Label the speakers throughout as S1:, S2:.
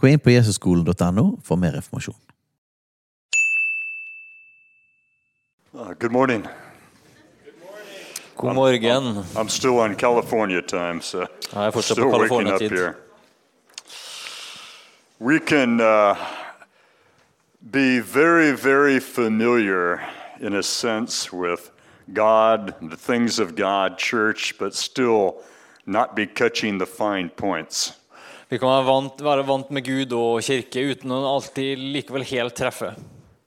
S1: Gå inn på jesusskolen.no for mer informasjon.
S2: Uh, Good morning.
S3: God morgen.
S2: I'm still on California time, so
S3: Ja, jeg fortsatt på
S2: still waking up
S3: California-tid.
S2: here. We can uh, be very, very familiar, in a sense, with God, the things of God, church, but still not be catching the fine points.
S3: Vi kan være vant, være vant med Gud og kirke uten å alltid likevel helt treffe.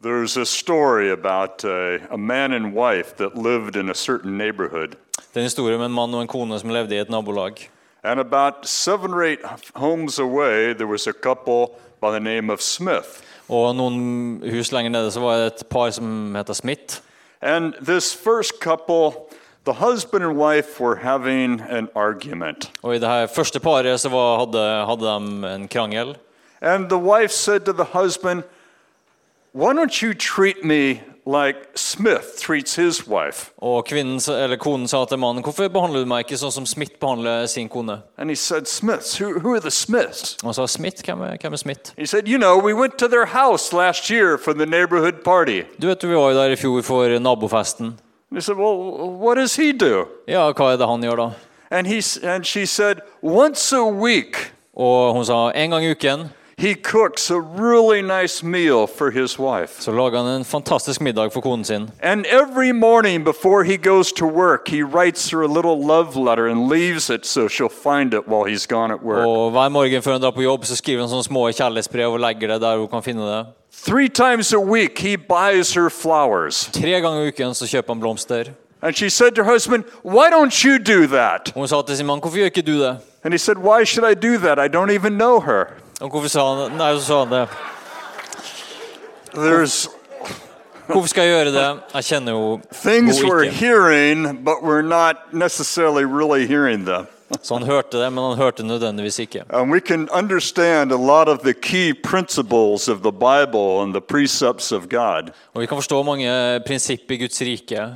S2: There's a story about uh, a man and wife that lived in a certain neighborhood.
S3: Det er en historie om en mann og en kone som levde i et nabolag.
S2: And about seven or eight homes away, there was a couple by the name of Smith.
S3: Og noen hus lenger nede så var det et par som heter Smith.
S2: And this first couple, the husband and wife were having an argument.
S3: Og i det her første paret så var, hadde, hadde de en krangel.
S2: And the wife said to the husband, Why don't you treat me like Smith treats his wife?
S3: Og kvinnen, sa- eller konen sa til mannen hvorfor behandler du meg ikke sånn som Smith behandler sin kone.
S2: And he said, Smiths? Who, who are the Smiths?
S3: Og han sa Smith, hvem er, hvem er Smith?
S2: He said, You know, we went to their house last year for the neighborhood party. And
S3: Du vet jo vi var jo der i fjor for nabofesten.
S2: he said, Well, what does he do?
S3: Ja, hva er det han gjør da?
S2: And, he, s- and she said, Once a week,
S3: Og hun sa en gang i uken
S2: he cooks a really nice meal for his wife.
S3: så lager han en fantastisk middag for konen sin.
S2: And every morning before he goes to work, he writes her a little love letter and leaves it so she'll find it while he's gone at work.
S3: Og hver morgen før hun drar på jobb, så skriver hun sånne små kjærlighetsbrev og legger det der hun kan finne det.
S2: Three times a week, he buys her flowers.
S3: Tre ganger i uken så kjøper han blomster.
S2: And she said to her husband, Why don't you do that?
S3: Og hun sa til sin mann, 'Hvorfor gjør ikke du det?'
S2: And he said, Why should I do that? I don't even know her.
S3: Og hvorfor sa han Nei, så sa han det.
S2: There's
S3: 'Hvorfor skal jeg gjøre det? Jeg kjenner jo
S2: things
S3: henne
S2: we're
S3: ikke.'
S2: hearing, but we're not necessarily really hearing them.
S3: Så han hørte det, men han hørte nødvendigvis ikke.
S2: And Um, we can understand a lot of the key principles of the Bible and the precepts of God.
S3: Og vi kan forstå mange prinsipp i Guds rike,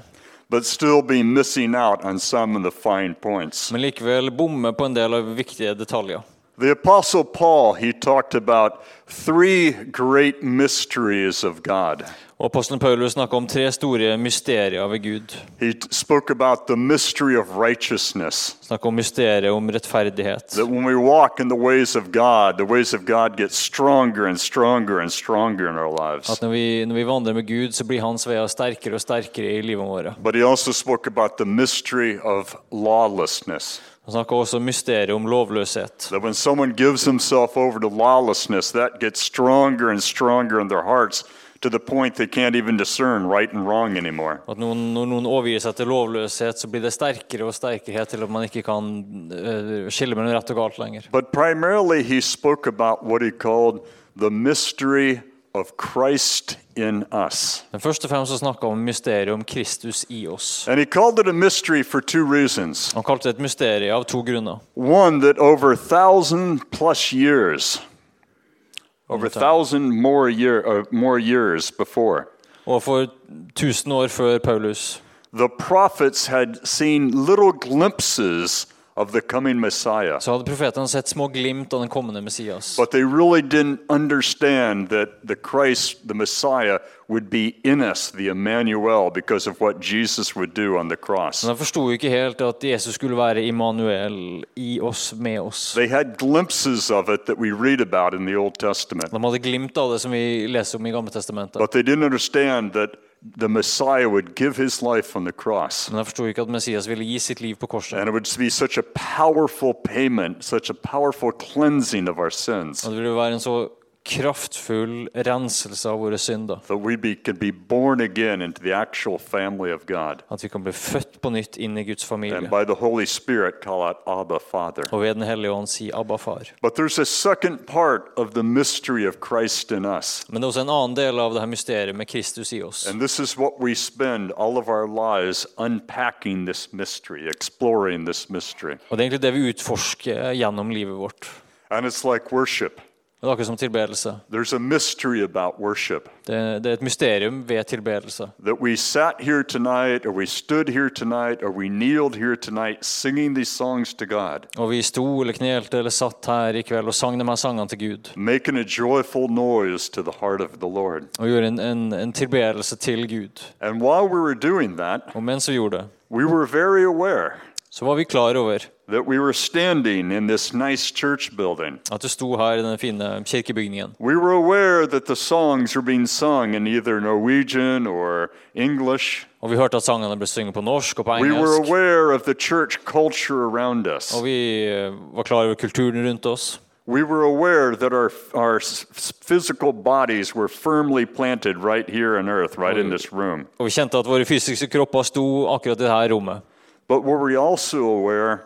S2: but still be missing out on some of the fine points.
S3: men likevel bomme på en del av viktige detaljer.
S2: The apostle Paul, he talked about three great mysteries of God.
S3: Og apostelen Paulus snakka om tre store mysterier ved Gud.
S2: He t- spoke about the mystery of righteousness.
S3: Snakka om mysteriet om rettferdighet.
S2: That when we walk in the ways of God, the ways of God get stronger and stronger and stronger in our lives.
S3: At når vi, når vi vandrer med Gud, så blir hans veier sterkere og sterkere i livet vårt.
S2: But he also spoke about the mystery of lawlessness.
S3: Han snakker også om mysteriet om lovløshet.
S2: That when someone gives himself over to lawlessness, that gets stronger and stronger in their hearts to the point they can't even discern right and wrong anymore.
S3: At noen, når noen overgir seg til lovløshet, så blir det sterkere og sterkere helt til at man ikke kan øh, skille mellom rett og galt lenger.
S2: But primarily, he spoke about what he called the mystery of Christ in us.
S3: Men først og fremst så snakker han om mysteriet om Kristus i oss.
S2: And he called it a mystery for two reasons.
S3: Han kalte det et mysterium av to grunner.
S2: One, that over a thousand plus years, over a thousand more, year, uh, more years before,
S3: Og for 1000 år før Paulus
S2: the prophets had seen little glimpses of the coming Messiah.
S3: så hadde profetene sett små glimt av den kommende Messias.
S2: But they really didn't understand that the Christ, the Messiah, would be in us, the Emmanuel, because of what Jesus would do on the cross.
S3: Men de forsto jo ikke helt at Jesus skulle være Immanuel i oss, med oss.
S2: They had glimpses of it that we read about in the Old Testament,
S3: De hadde glimt av det som vi leser om i Gamle Testamentet.
S2: but they didn't understand that the Messiah would give his life on the cross.
S3: Men de forsto ikke at Messias ville gi sitt liv på korset.
S2: And it would be such a powerful payment, such a powerful cleansing of our sins.
S3: Og det ville være en så kraftfull renselse av våre synder.
S2: that we be, could be born again into the actual family of God.
S3: At vi kan bli født på nytt inn i Guds
S2: And
S3: familie.
S2: by the Holy Spirit, call out Abba, Father.
S3: Og ved Den hellige ånd si 'Abba, far'.
S2: But there's a second part of the mystery of Christ in us.
S3: Men det er også en annen del av det her mysteriet med Kristus i oss.
S2: And this is what we spend all of our lives unpacking this mystery, exploring this mystery.
S3: Og det er egentlig det vi utforsker gjennom livet vårt.
S2: And it's like worship.
S3: Det er akkurat som tilbedelse.
S2: There's a mystery about worship
S3: Det, det er et mysterium ved tilbedelse.
S2: that we sat here tonight, or we stood here tonight, or we kneeled here tonight singing these songs to God,
S3: Og vi sto eller knelte eller satt her i kveld og sang de her sangene til Gud.
S2: making a joyful noise to the heart of the Lord.
S3: Og gjorde en, en, en tilbedelse til Gud.
S2: And while we were doing that,
S3: Og mens vi gjorde det,
S2: we were very aware
S3: så var vi klar over
S2: that we were standing in this nice church building.
S3: at det sto her i den fine kirkebygningen.
S2: We were aware that the songs were being sung in either Norwegian or English.
S3: Og vi hørte at sangene ble sunget på norsk og på
S2: We were
S3: engelsk.
S2: aware of the church culture around us.
S3: Og vi eh, var klar over kulturen rundt oss.
S2: We were aware that our, our s- s- physical bodies were firmly planted right here on earth, right in this room.
S3: Og vi kjente at våre fysiske kropper sto akkurat i det her rommet.
S2: But were we also aware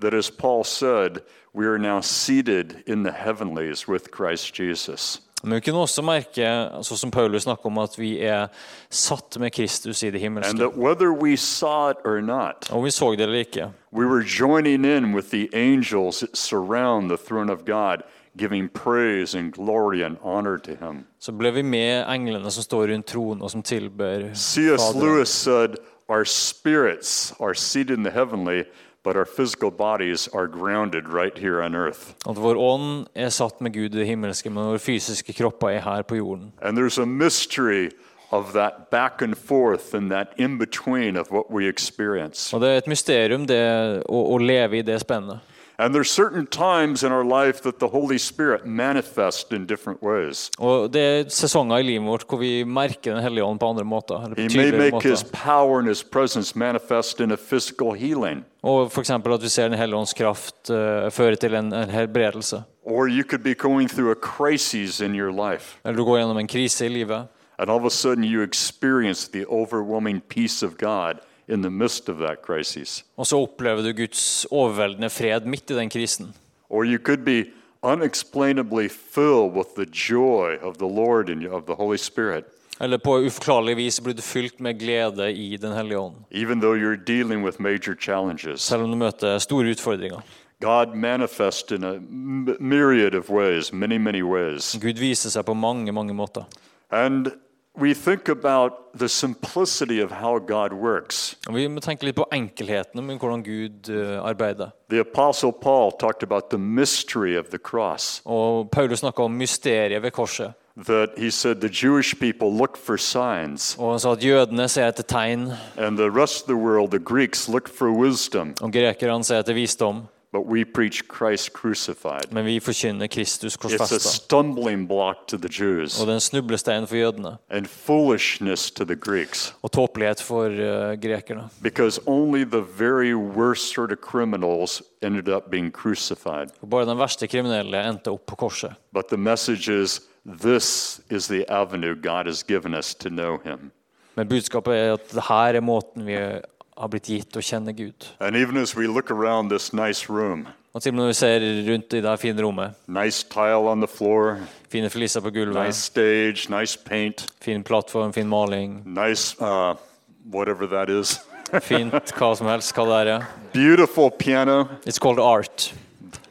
S2: that, as Paul said, we are now seated in the heavenlies with Christ Jesus?
S3: Men vi kunne også merke, sånn som Paulus snakker om, at vi er satt med Kristus i det
S2: And
S3: himmelske.
S2: that whether we saw it or not,
S3: Om vi så det eller ikke,
S2: we were joining in with the angels that surround the throne of God, giving praise and glory and honor to Him.
S3: så ble vi med englene som står rundt tronen og som tilber
S2: C.S.
S3: Faderen.
S2: Lewis said, Our spirits are seated in the heavenly, but our physical bodies are grounded right here on earth.
S3: At vår ånd er satt med Gud i det himmelske, men våre fysiske kropper er her på jorden.
S2: And there's a mystery of that back and forth and that in between of what we experience.
S3: Og det er et mysterium det, å, å leve i det spennet.
S2: And there's certain times in our life that the Holy Spirit manifests in different ways.
S3: Og det er sesonger i livet vårt hvor vi merker Den hellige ånd på andre måter. Eller på
S2: He may
S3: tydeligere
S2: make his
S3: måter.
S2: power and his presence manifest in a physical healing.
S3: Og f.eks. at vi ser Den hellige ånds kraft eh, føre til en, en helbredelse.
S2: Or you could be going through a crisis in your life,
S3: Eller du går gjennom en krise i livet,
S2: and all of a sudden you experience the overwhelming peace of God in the midst of that crisis.
S3: og så opplever du Guds overveldende fred midt i den krisen.
S2: Or you could be unexplainably filled with the joy of the Lord and of the Holy Spirit,
S3: Eller på uforklarlig vis blir du fylt med glede i Den hellige ånd.
S2: even though you're dealing with major challenges.
S3: Selv om du møter store utfordringer.
S2: God manifests in a m- myriad of ways, many, many ways.
S3: Gud viser seg på mange, mange måter.
S2: And we think about the simplicity of how God works.
S3: Og vi må tenke litt på enkelheten med hvordan Gud eh, arbeider.
S2: The Apostle Paul talked about the mystery of the cross,
S3: Og Paulus snakka om mysteriet ved korset.
S2: that he said the Jewish people look for signs,
S3: Og han sa at jødene ser etter tegn,
S2: and the rest of the world, the Greeks, look for wisdom,
S3: og grekerne ser etter visdom,
S2: but we preach Christ crucified.
S3: men vi forkynner
S2: It's
S3: Kristus
S2: a
S3: korsfesta.
S2: stumbling block to the Jews
S3: Og det er en snublestein for jødene,
S2: and foolishness to the Greeks,
S3: og tåpelighet for eh, grekerne.
S2: because only the very worst sort of criminals ended up being crucified.
S3: For bare den verste kriminelle endte opp på korset.
S2: But the message is this is the avenue God has given us to know Him.
S3: Men budskapet er at det her er måten vi har blitt gitt å kjenne Gud.
S2: And even as we look around this nice room,
S3: Og til og med når vi ser rundt i det her fine rommet,
S2: nice tile on the floor,
S3: fine fliser på
S2: nice
S3: gulvet,
S2: stage, nice paint,
S3: fin plattform, fin maling,
S2: nice uh, whatever that is,
S3: fint hva som helst, hva det er. ja.
S2: beautiful piano.
S3: It's called art.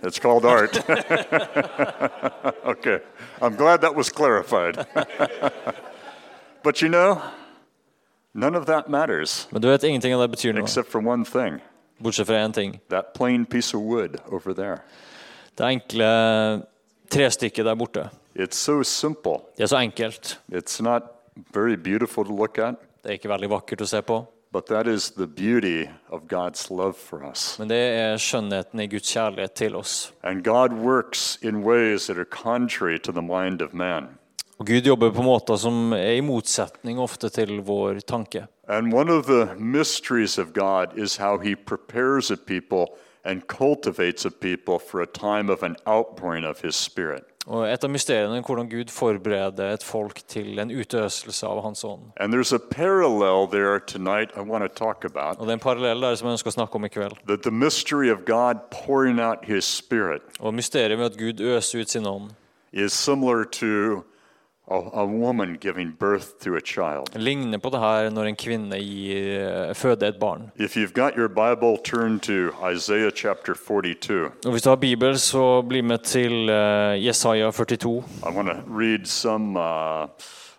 S2: It's called art. okay, I'm glad that was clarified. but you know, none of that matters
S3: Men du vet ingenting av det betyr noe,
S2: except for one thing
S3: bortsett fra én ting.
S2: that plain piece of wood over there.
S3: Det enkle trestykket der borte.
S2: It's so simple.
S3: Det er så enkelt.
S2: It's not very beautiful to look at,
S3: Det er ikke veldig vakkert å se på,
S2: but that is the beauty of God's love for us.
S3: men det er skjønnheten i Guds kjærlighet til oss.
S2: And God works in ways that are contrary to the mind of man.
S3: Og Gud jobber på måter som er i motsetning ofte til vår tanke.
S2: And one of the mysteries of God is how he prepares a people and cultivates a people for a time of an outpouring of his spirit.
S3: Og et av mysteriene er hvordan Gud forbereder et folk til en utøselse av Hans ånd.
S2: And there's a parallel there tonight I want to talk about
S3: Og Det er en parallell der som jeg ønsker å snakke om i kveld.
S2: that the mystery of God pouring out his spirit
S3: Og Mysteriet med at Gud øser ut sin ånd,
S2: is similar to a, a woman giving birth to a child.
S3: ligner på det her når en kvinne gir, føder et barn.
S2: If you've got your Bible, turn to Isaiah chapter 42.
S3: Og Hvis du har Bibel, så bli med til eh, Jesaja 42.
S2: I want to read some, uh,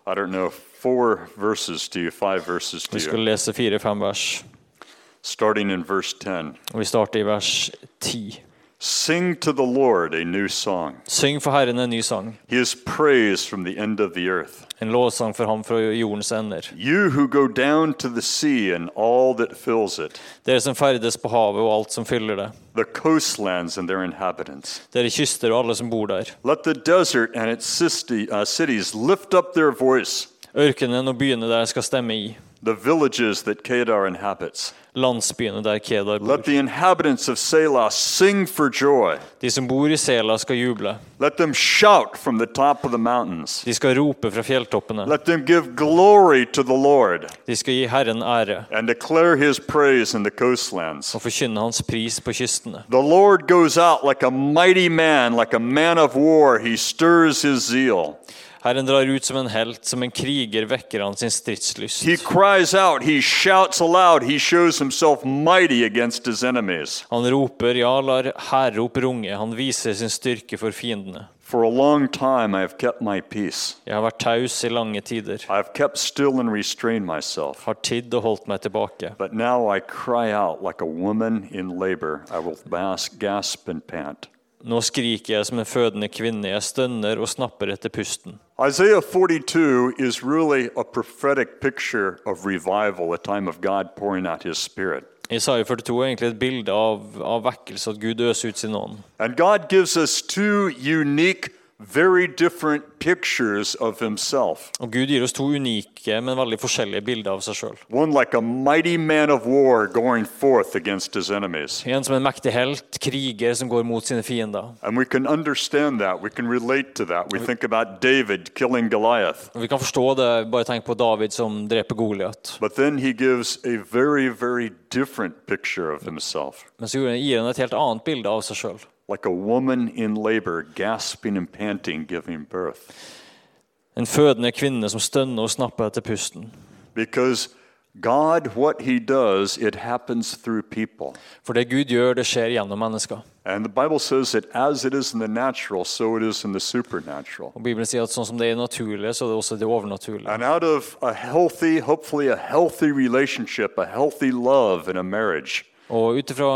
S2: I don't know, four verses to you, five verses to
S3: Vi skal
S2: you,
S3: lese fire-fem vers.
S2: starting in verse 10.
S3: Og Vi starter i vers 10.
S2: Sing to the Lord a new song,
S3: Syng for Herren en ny sang,
S2: his praise from the end of the earth.
S3: en lovsang for ham fra jordens ender.
S2: You who go down to the sea and all that fills it,
S3: Dere som ferdes på havet og alt som fyller det.
S2: the coastlands and their inhabitants.
S3: Dere kyster og alle som bor der.
S2: Let the desert and its city, uh, cities lift up their voice,
S3: Ørkenen og byene der skal stemme i.
S2: the villages that Kedar inhabits.
S3: Landsbyene der Kedar bor.
S2: Let the inhabitants of Selah sing for joy.
S3: De som bor i Sela skal juble.
S2: Let them shout from the top of the mountains.
S3: De skal rope fra fjelltoppene.
S2: Let them give glory to the Lord
S3: De skal gi Herren ære
S2: and declare his praise in the coastlands.
S3: og forkynne hans pris på kystene.
S2: The Lord goes out like a mighty man, like a man of war. He stirs his zeal.
S3: Herren drar ut som en helt, som en kriger vekker han sin stridslyst.
S2: He cries out, he shouts aloud, he shows himself mighty against his enemies.
S3: Han roper, ja, lar hærrop runge. Han viser sin styrke for fiendene.
S2: For a long time I have kept my peace.
S3: Jeg har vært taus i lange tider,
S2: I have kept still and restrained myself.
S3: har tidd og holdt meg tilbake.
S2: But now I cry out like a woman in labor. I will bask, gasp, and pant.
S3: Nå skriker jeg som en fødende kvinne, jeg stønner og snapper etter pusten.
S2: Isaiah 42 is really a prophetic picture of revival, a time of God pouring out his spirit.
S3: Isaiah 42 er egentlig et bilde av, av vekkelse, at Gud øser ut sin ånd.
S2: And God gives us two unique, very different pictures of himself.
S3: Og Gud gir oss to unike, men veldig forskjellige bilder av seg sjøl.
S2: One like a mighty man of war going forth against his enemies.
S3: En som en mektig helt, kriger som går mot sine fiender.
S2: And we can understand that. We can relate to that. We think about David killing Goliath.
S3: Og Vi kan forstå det, bare tenk på David som dreper Goliat.
S2: But then he gives a very, very different picture of himself.
S3: Men så gir han- gir han et helt annet bilde av seg sjøl.
S2: Like a woman in labor, gasping and panting, giving birth.
S3: En fødende kvinne som stønner og snapper etter pusten.
S2: Because God, what he does, it happens through people.
S3: For det Gud gjør, det skjer gjennom mennesker.
S2: And the Bible says that as it is in the natural, so it is in the supernatural.
S3: Og Bibelen sier at sånn som det er i naturlig, så er det også i det overnaturlige.
S2: And out of a healthy, hopefully a healthy relationship, a healthy love in a marriage,
S3: Og ut ifra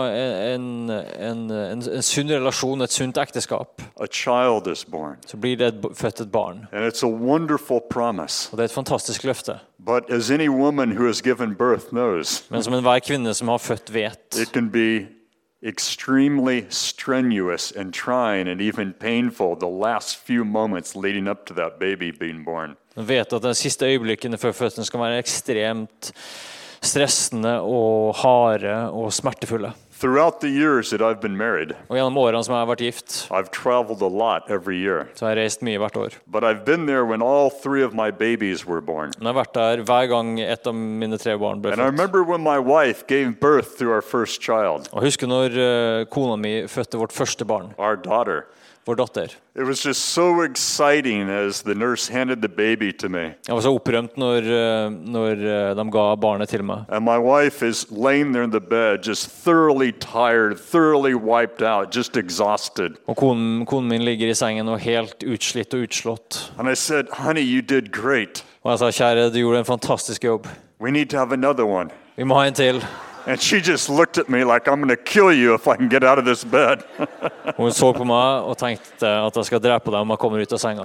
S3: en, en, en, en sunn relasjon, et sunt ekteskap,
S2: a child is born.
S3: så blir det et, b- født et barn.
S2: And it's a wonderful promise.
S3: Og det er et fantastisk løfte.
S2: But as any woman who has given birth knows,
S3: Men som enhver kvinne som har født, vet,
S2: it can be extremely strenuous and trying and even painful the last few moments leading up to that baby being born.
S3: Den vet at de siste øyeblikkene før fødselen skal være ekstremt stressende og harde og smertefulle.
S2: Throughout the years that I've been married,
S3: Og gjennom årene som jeg har vært gift,
S2: I've traveled a lot every year.
S3: så har jeg reist mye hvert år.
S2: But I've been there when all three of my babies were born.
S3: Men jeg har vært der hver gang et av mine tre barn ble
S2: And I
S3: født.
S2: remember when my wife gave birth to our first child,
S3: Og jeg husker når eh, kona mi fødte vårt første barn,
S2: our daughter.
S3: vår datter.
S2: It was just so exciting as the nurse handed the baby to me.
S3: Jeg var så opprømt når, eh, når eh, de ga barnet til meg.
S2: And my wife is laying there in the bed, just thoroughly tired, thoroughly wiped out, just exhausted.
S3: Og konen, konen min ligger i sengen og er helt utslitt og utslått.
S2: And I said, Honey, you did great.
S3: Og jeg sa, kjære, du gjorde en fantastisk jobb.
S2: We need to have another one.
S3: Vi må ha en til.
S2: And she just looked at me like, I'm going to kill you if I can get out of this bed.
S3: Og hun så på meg og tenkte at jeg skal drepe deg om jeg kommer ut av senga.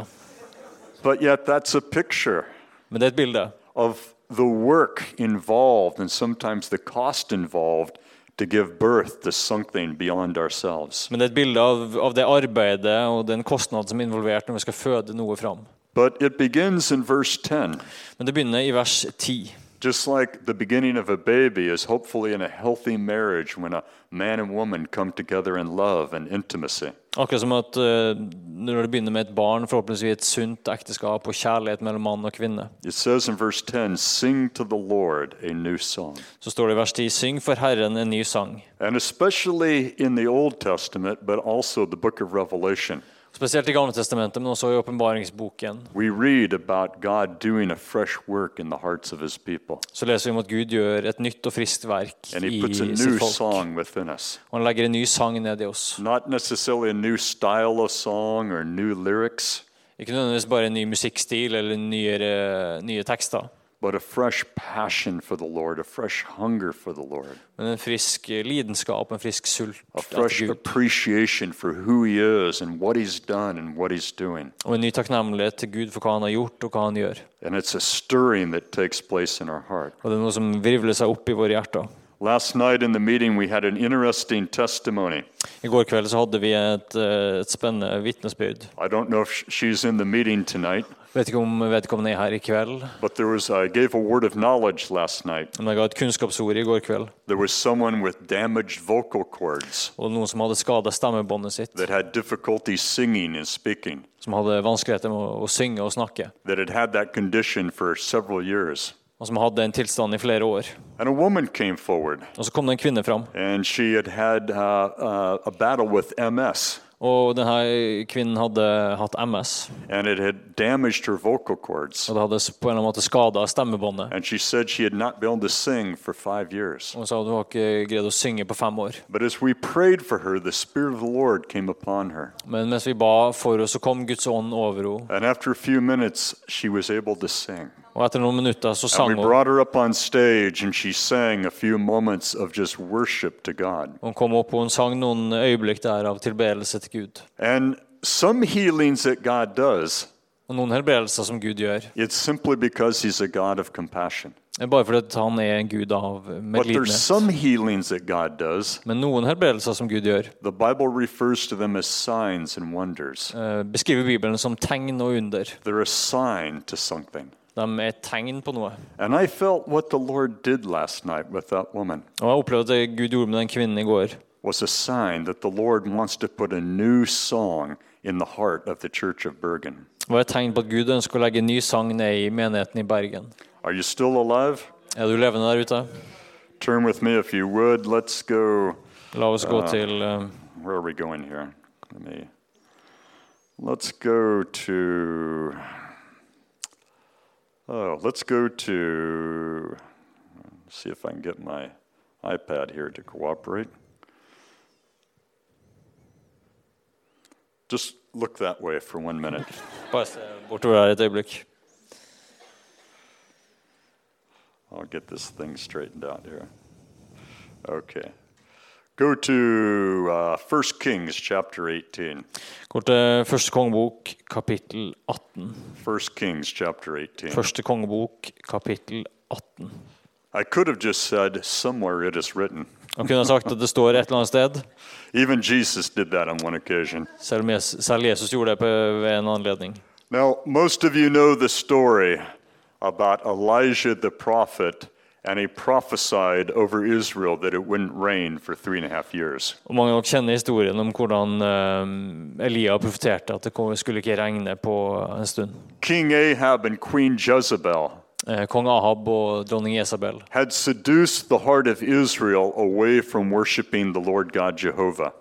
S2: but yet, that's a picture.
S3: Men det er et bilde
S2: of the work involved and sometimes the cost involved to give birth to something beyond ourselves.
S3: Men det er et bilde av, av det arbeidet og den kostnaden som er involvert når vi skal føde noe fram.
S2: But it begins in verse 10.
S3: Men det begynner i vers 10.
S2: Just like the beginning of a baby is hopefully in a healthy marriage when a man and woman come together in love and intimacy.
S3: Akkurat som at eh, når det begynner med et barn, forhåpentligvis i et sunt ekteskap og kjærlighet mellom mann og kvinne,
S2: It says in verse 10 Sing to the Lord a new song.
S3: så står det i vers 10 Syng for Herren en ny sang.
S2: And especially in the Old Testament, but also the book of Revelation,
S3: Spesielt i Gamle testamentet, men også i åpenbaringsboken,
S2: we read about God doing a fresh work in the hearts of his people.
S3: så leser vi om at Gud gjør et nytt og friskt verk
S2: And
S3: i
S2: he puts a new
S3: sitt folk.
S2: song within us.
S3: Og han legger en ny sang ned i oss.
S2: Not necessarily a new style of song or new lyrics,
S3: Ikke nødvendigvis bare en ny musikkstil eller nyere, nye tekster,
S2: but a fresh passion for the Lord, a fresh hunger for the Lord,
S3: men en frisk lidenskap, en frisk sult
S2: a
S3: etter
S2: fresh
S3: Gud.
S2: appreciation for who he is and what he's done and what he's doing.
S3: Og en ny takknemlighet til Gud for hva han har gjort, og hva han gjør.
S2: And it's a stirring that takes place in our heart.
S3: Og det er noe som virvler seg opp i våre hjerter.
S2: Last night in the meeting, we had an interesting testimony.
S3: I går kveld så hadde vi et, eh, et spennende vitnesbyrd.
S2: I don't know if sh- she's in the meeting tonight,
S3: Vet ikke om vedkommende er her i kveld,
S2: but there was I gave a word of knowledge last night.
S3: men jeg ga et kunnskapsord i går kveld.
S2: There was someone with damaged vocal cords
S3: Og noen som hadde skada stemmebåndet sitt,
S2: that had difficulty singing and speaking,
S3: som hadde vanskeligheter med å, å synge og snakke.
S2: that had had that condition for several years.
S3: Og som hadde en tilstand i flere år.
S2: And a woman came forward,
S3: Og så kom det en kvinne fram.
S2: and she had had uh, uh, a battle with MS,
S3: Og denne kvinnen hadde hatt MS,
S2: and it had damaged her vocal cords.
S3: og det hadde på en eller annen måte skada stemmebåndet.
S2: And she said she had not been able to sing for five years.
S3: Og hun sa at hun har ikke greid å synge på fem år.
S2: But as we prayed for her, the Spirit of the Lord came upon her.
S3: Men mens vi ba for henne, så kom Guds ånd over henne.
S2: And after a few minutes, she was able to sing.
S3: Og etter noen minutter så
S2: And
S3: sang
S2: we
S3: hun. Og
S2: brought her up on stage, and she sang a few moments of just worship to God.
S3: hun kom opp, og hun sang noen øyeblikk der av tilbedelse til Gud.
S2: And some healings that God does,
S3: Og noen helbredelser som Gud gjør.
S2: it's simply because He's a God of compassion.
S3: Det er Bare fordi at han er en gud av
S2: But there's
S3: medlidenhet.
S2: some healings that God does.
S3: Men noen helbredelser som Gud gjør,
S2: The Bible refers to them as signs and wonders.
S3: eh, beskriver Bibelen som tegn og under.
S2: They're a sign to something.
S3: De er et tegn på noe.
S2: And I felt what the Lord did last night with that woman
S3: Og jeg opplevde at det Gud gjorde med den kvinnen i går,
S2: was a sign that the Lord wants to put a new song in the heart of the Church of Bergen.
S3: var et tegn på at Gud ønsker å legge en ny sang ned i menigheten i Bergen.
S2: Are you still alive?
S3: Er du levende der ute?
S2: Turn with me if you would. Let's go.
S3: La oss gå til eh,
S2: Where are we going here? Let me. Let's go to. Oh, let's go to. See if I can get my iPad here to cooperate. Just look that way for one minute.
S3: Bare se bortover her et øyeblikk.
S2: I'll get this thing straightened out here. Okay. Go to uh, 1 Kings chapter 18.
S3: Går til første kongebok, kapittel 18.
S2: 1 Kings chapter 18.
S3: Første kongebok, kapittel 18.
S2: I could have just said, Somewhere it is written.
S3: Han kunne ha sagt at det står et eller annet sted,
S2: Even Jesus did that on one occasion.
S3: selv om Jesus, selv Jesus gjorde det på, ved en anledning.
S2: Now, most of you know the story about Elijah the prophet, and he prophesied over Israel that it wouldn't rain for three and a half years.
S3: Og Mange av dere kjenner historien om hvordan eh, Elia profeterte at det kom- skulle ikke regne på en stund.
S2: King Ahab and Queen Jezebel
S3: Eh, Kong Ahab og dronning Isabel
S2: had seduced the heart of Israel away from worshiping the Lord God Jehovah.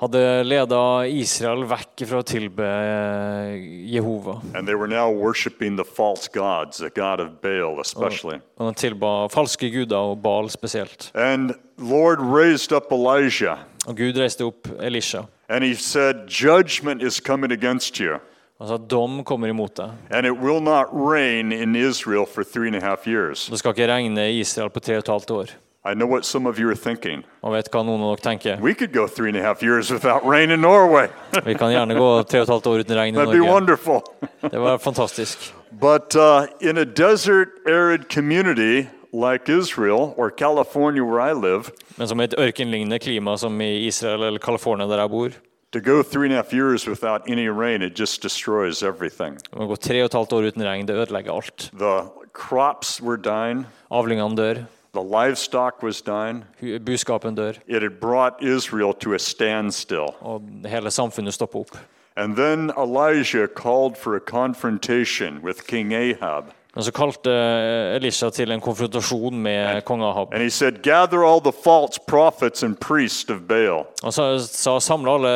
S3: hadde leda Israel vekk fra å tilbe eh, Jehova.
S2: And they were now worshiping the false gods, the god of Baal especially.
S3: Og de tilba falske guder og Baal spesielt.
S2: And Lord raised up Elijah,
S3: Og Gud reiste opp Elisha
S2: and he said, "Judgment is coming against you,
S3: og sa dom kommer imot deg.
S2: and it will not rain in Israel for three and a half years."
S3: Det skal ikke regne i Israel på tre og et halvt år.
S2: I know what some of you are thinking.
S3: Og vet hva noen av dere tenker?
S2: We could go three and a half years without rain in Norway.
S3: Vi kan gjerne gå tre og et halvt år uten regn i
S2: That'd be
S3: Norge.
S2: wonderful.
S3: Det var fantastisk.
S2: But uh, in a desert, arid community like Israel or California, where I live,
S3: Men som et ørkenlignende klima som i Israel eller California, der jeg bor.
S2: to go three and a half years without any rain, it just destroys everything.
S3: Å gå tre og et halvt år uten regn, det ødelegger alt.
S2: The crops were dying,
S3: Avlingene dør.
S2: the livestock was dying.
S3: hu- Buskapen dør.
S2: It had brought Israel to a standstill.
S3: Og hele samfunnet stopper opp.
S2: And then Elijah called for a confrontation with King Ahab.
S3: Men så kalte eh, Elisha til en konfrontasjon med kong Ahab.
S2: And he said, Gather all the false prophets and priests of Baal.
S3: Han sa, sa samle alle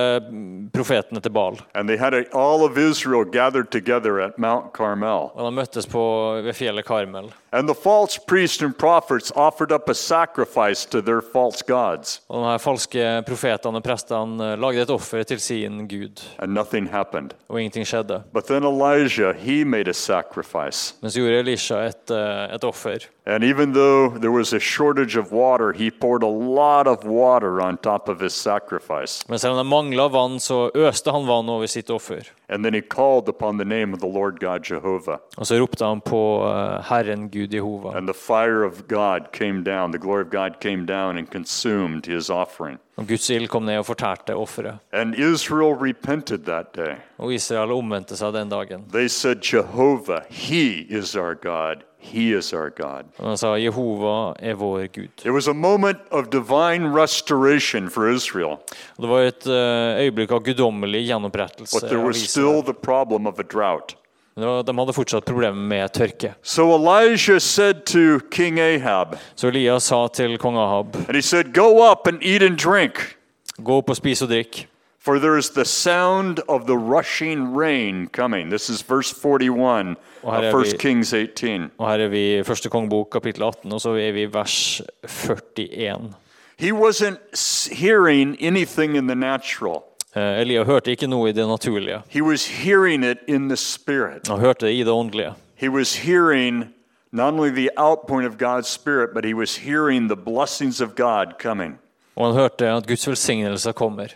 S3: profetene til Baal.
S2: And they had a, all of Israel gathered together at Mount Carmel.
S3: Og de møttes på, ved fjellet Karmel.
S2: And the false priests and prophets offered up a sacrifice to their false gods.
S3: Og de her falske profetene og prestene eh, lagde et offer til sin gud,
S2: And nothing happened.
S3: og ingenting skjedde.
S2: But then Elijah, he made a sacrifice.
S3: Men så gjorde Elisha et, eh, et offer.
S2: And even though there was a shortage of water, he poured a lot of water on top of his sacrifice.
S3: Men selv om det mangla vann, så øste han vann over sitt offer.
S2: And then he called upon the name of the Lord God Jehovah.
S3: Og så ropte han på eh, Herren Gud Jehova.
S2: And the fire of God came down, the glory of God came down and consumed his offering.
S3: Og Guds ild kom ned og fortærte offeret.
S2: And Israel repented that day.
S3: Og Israel omvendte seg den dagen.
S2: They said, Jehovah, he is our God. He is our God.
S3: Og han sa Jehova er vår Gud.
S2: It was a moment of divine restoration for Israel,
S3: Og det var et eh, øyeblikk av guddommelig gjenopprettelse.
S2: but there
S3: av
S2: was
S3: Israel.
S2: still the problem of a drought.
S3: Men det var- De hadde fortsatt problemer med tørke.
S2: So Elijah said to King Ahab,
S3: Så Elias sa til kong Ahab,
S2: and he said, Go up and eat and drink,
S3: gå opp og spis og drikk.
S2: for there is the sound of the rushing rain coming. This is verse 41
S3: Why
S2: of
S3: do
S2: 1
S3: we-
S2: Kings 18.
S3: Og her er vi i første kongebok kapittel 18, og så er vi i vers 41.
S2: He wasn't s- hearing anything in the natural,
S3: Eh, Elia hørte ikke noe i det naturlige.
S2: he was hearing it in the spirit.
S3: Han hørte det i det åndelige.
S2: He was hearing not only the outpouring of God's Spirit, but he was hearing the blessings of God coming.
S3: Og han hørte at Guds velsignelse kommer.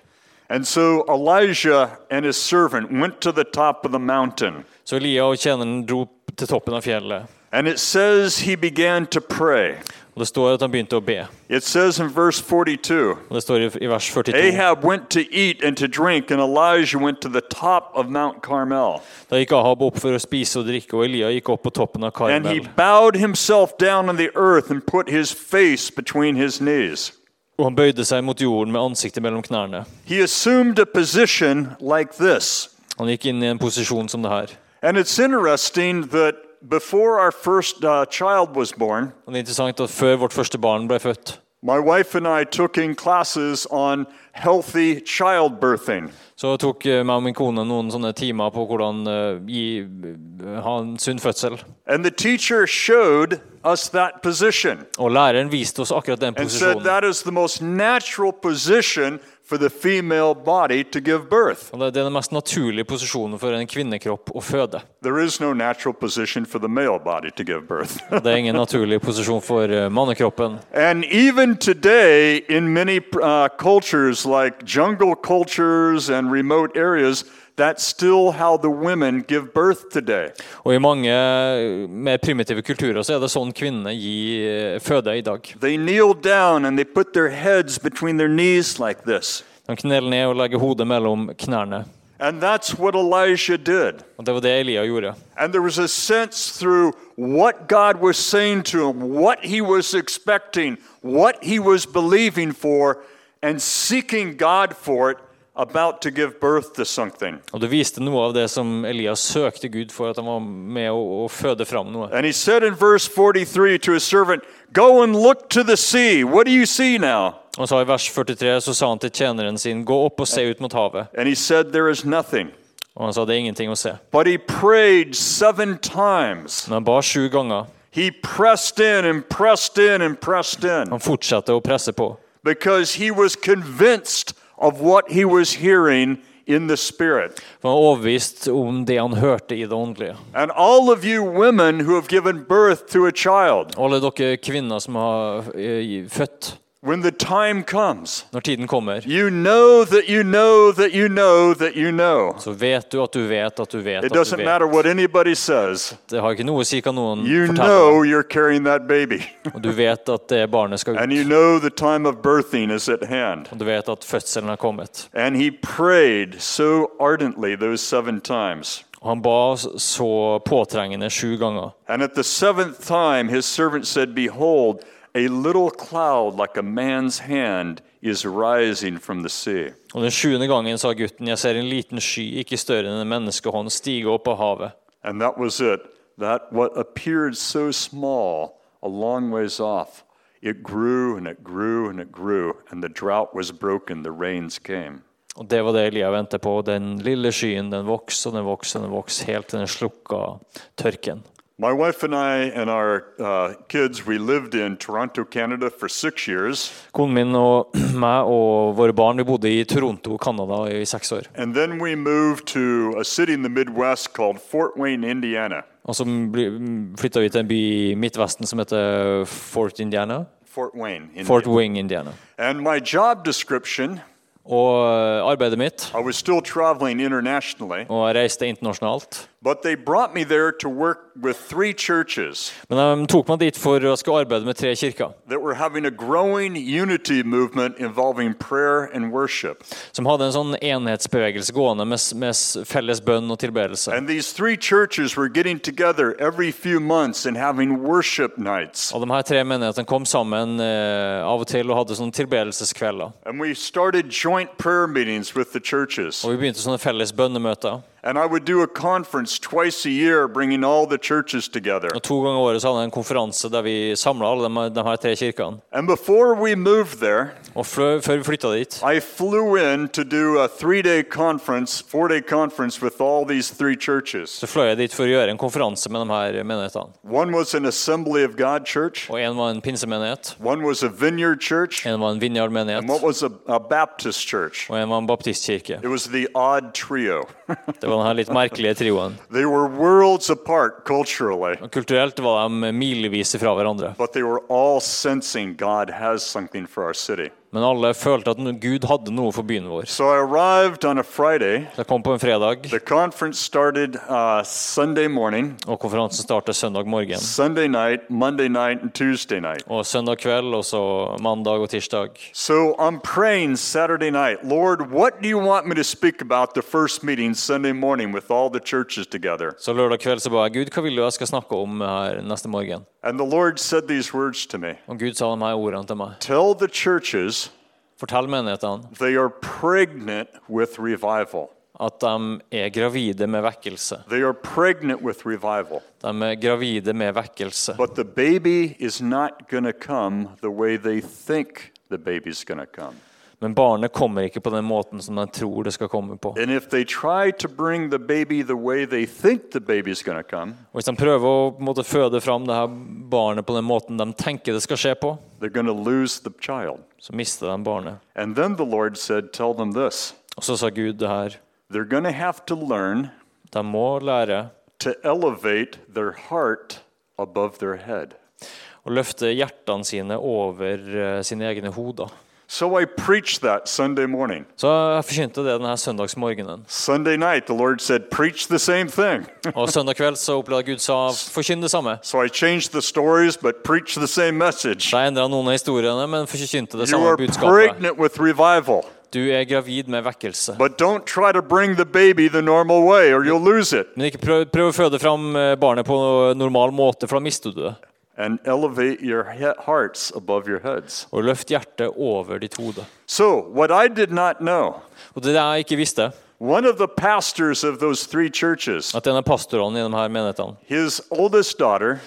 S2: And so Elijah and his servant went to the top of the mountain.
S3: Så Elia og tjeneren dro opp til toppen av fjellet.
S2: And it says he began to pray.
S3: Og det står at han begynte å be.
S2: It says in verse 42
S3: Og det står i- i vers 42.
S2: Ahab went to eat and to drink, and Elijah went to the top of Mount Carmel.
S3: Da gikk Ahab opp for å spise og drikke, og Elia gikk opp på toppen av
S2: And he
S3: Karmel.
S2: bowed himself down on the earth and put his face between his knees.
S3: Og han bøyde seg mot jorden med ansiktet mellom knærne.
S2: He assumed a position like this.
S3: Han gikk inn i en posisjon som det her.
S2: And it's interesting that before our first uh, child was born,
S3: Og det er interessant at før vårt første barn ble født,
S2: my wife and I took in classes on healthy childbirthing.
S3: så tok eh, meg og min kone noen sånne timer på hvordan eh, gi, eh, ha en sunn fødsel.
S2: And the teacher showed us that position
S3: Og læreren viste oss akkurat den
S2: and said
S3: posisjonen.
S2: that is the most natural position for the female body to give birth.
S3: Og det det er den mest naturlige posisjonen for en kvinnekropp å føde.
S2: There is no natural position for the male body to give birth.
S3: Det er ingen naturlig posisjon for eh, mannekroppen.
S2: And even today, in many uh, cultures, like jungle cultures and remote areas, that's still how the women give birth today.
S3: Og i mange eh, mer primitive kulturer så er det sånn kvinnene gir eh, føde i dag.
S2: They kneel down and they put their heads between their knees like this.
S3: De kneler ned og legger hodet mellom knærne.
S2: And that's what Elijah did.
S3: Og Det var det Elia gjorde.
S2: And there was a sense through what God was saying to him, what he was expecting, what he was believing for, and seeking God for it, about to give birth to something.
S3: Og Det viste noe av det som Elias søkte Gud for, at han var med å, å føde fram noe.
S2: And he said in verse 43 to his servant, Go and look to the sea. What do you see now?
S3: Og så I vers 43 så sa han til tjeneren sin, gå opp og se ut mot havet.
S2: And he said, There is nothing.
S3: Og han sa det er ingenting å se.
S2: But he prayed seven times.
S3: Men han ba sju ganger.
S2: He pressed in and pressed in and pressed in
S3: Han fortsatte å presse på.
S2: because he was convinced of what he was hearing in the Spirit.
S3: For han var overbevist om det han hørte i det åndelige.
S2: And all of you women who have given birth to a child,
S3: Og Alle dere kvinner som har eh, født,
S2: when the time comes,
S3: når tiden kommer,
S2: you know that you know that you know that you know.
S3: så vet du at du vet at du
S2: It
S3: vet at du
S2: doesn't matter
S3: vet.
S2: what anybody says.
S3: Det har ikke noe å si hva noen
S2: You know
S3: forteller.
S2: you're carrying that baby,
S3: Og du vet at det barnet skal
S2: and you
S3: ut.
S2: know the time of birthing is at hand.
S3: Og du vet at fødselen har kommet.
S2: And he prayed so ardently those seven times.
S3: Og han ba så påtrengende sju ganger.
S2: And at the seventh time, his servant said, Behold, a little cloud like a man's hand is rising from the sea.
S3: Og den sjuende gangen sa gutten, jeg ser en liten sky, ikke større enn en menneskehånd, stige opp av havet.
S2: And that was it. That what appeared so small, a long ways off, it grew and it grew and it grew, and the drought was broken, the rains came.
S3: Og det var det Elia ventet på. Den lille skyen, den vokste og den vokste og den vokste, helt til den slukka tørken.
S2: My wife and I and our uh, kids, we lived in Toronto, Canada for six years.
S3: Konen min og meg og våre barn vi bodde i Toronto, Canada i seks år.
S2: And then we moved to a city in the Midwest called Fort Wayne, Indiana.
S3: Og så flytta vi til en by i Midtvesten som heter Fort Indiana.
S2: Fort Wayne, Indiana.
S3: Fort Wing, Indiana.
S2: And my job description,
S3: Og eh, arbeidet mitt,
S2: I was still traveling internationally,
S3: og jeg reiste internasjonalt.
S2: but they brought me there to work with three churches
S3: Men de tok meg dit for å skulle arbeide med tre kirker.
S2: that were having a growing unity movement involving prayer and worship.
S3: Som hadde en sånn enhetsbevegelse gående med, s- med s- felles bønn og tilbedelse.
S2: And these three churches were getting together every few months and having worship nights.
S3: Og de her tre menighetene kom sammen eh, av og til og hadde sånne tilbedelseskvelder.
S2: And we started joint prayer meetings with the churches.
S3: Og vi begynte sånne felles bønnemøter.
S2: And I would do a conference twice a year bringing all the churches together.
S3: Og to ganger i året så hadde jeg en konferanse der vi samla alle de, de her tre kirkene.
S2: And before we moved there,
S3: Og flø, før vi flytta dit,
S2: I flew in to do a three day conference, four day conference with all these three churches.
S3: så fløy jeg dit for å gjøre en konferanse med de her menighetene.
S2: One was an Assembly of God church,
S3: Og én var en pinsemenighet,
S2: one was a Vineyard church,
S3: én var
S2: and what
S3: en Vinjard-menighet,
S2: was a, a Baptist church.
S3: og én var en baptistkirke.
S2: It was the odd trio.
S3: Det var den her litt merkelige trioen.
S2: they were worlds apart culturally,
S3: Og Kulturelt var de milevis fra hverandre.
S2: but they were all sensing God has something for our city.
S3: Men alle følte at Gud hadde noe for byen vår.
S2: So I arrived on a Friday.
S3: Så jeg kom på en fredag,
S2: The conference started uh, Sunday morning,
S3: og konferansen startet søndag morgen.
S2: Sunday night, Monday night, and Tuesday night.
S3: Og søndag kveld, og så mandag og tirsdag.
S2: So I'm praying Saturday night, Lord, what do you want me to speak about the first meeting Sunday morning with all the churches together?
S3: Så lørdag kveld så ba jeg Gud, hva vil du jeg skal snakke om her neste morgen?
S2: And the Lord said these words to me
S3: Og Gud sa de her ordene til meg.
S2: Tell the churches
S3: Fortell menighetene
S2: they are pregnant with revival.
S3: at de er gravide med vekkelse.
S2: They are pregnant with revival,
S3: De er gravide med vekkelse.
S2: but the baby is not going to come the way they think the baby's going to come.
S3: Men barnet kommer ikke på den måten som de tror det skal komme på.
S2: And if they try to bring the baby the way they think the baby's going to come,
S3: Og Hvis de prøver å på en måte, føde fram det her barnet på den måten de tenker det skal skje på,
S2: they're going to lose the child.
S3: så mister de barnet.
S2: And then the Lord said, Tell them this.
S3: Og så sa Gud det her.
S2: They're going to have to learn
S3: De må lære
S2: to elevate their heart above their head.
S3: å løfte hjertene sine over eh, sine egne hoder.
S2: So I preached that Sunday morning.
S3: Så jeg forkynte det denne søndagsmorgenen.
S2: Sunday night, the Lord said, Preach the same thing.
S3: Og søndag kveld så opplevde jeg Gud sa forkynn det samme.
S2: so I changed the stories, but preach the same message.
S3: Så jeg endra noen av historiene, men forkynte det
S2: You
S3: samme
S2: are
S3: budskapet.
S2: pregnant with revival,
S3: Du er gravid med vekkelse.
S2: but don't try to bring the baby the normal way or you'll lose it.
S3: Men ikke prøv, prøv å føde fram eh, barnet på normal måte, for da mister du det.
S2: And elevate your he- hearts above your heads.
S3: Og løft hjertet over ditt hode.
S2: So, what I did not know,
S3: Og det jeg ikke visste,
S2: one of the pastors of those three churches,
S3: at en av pastorene i de her menighetene,
S2: his oldest daughter,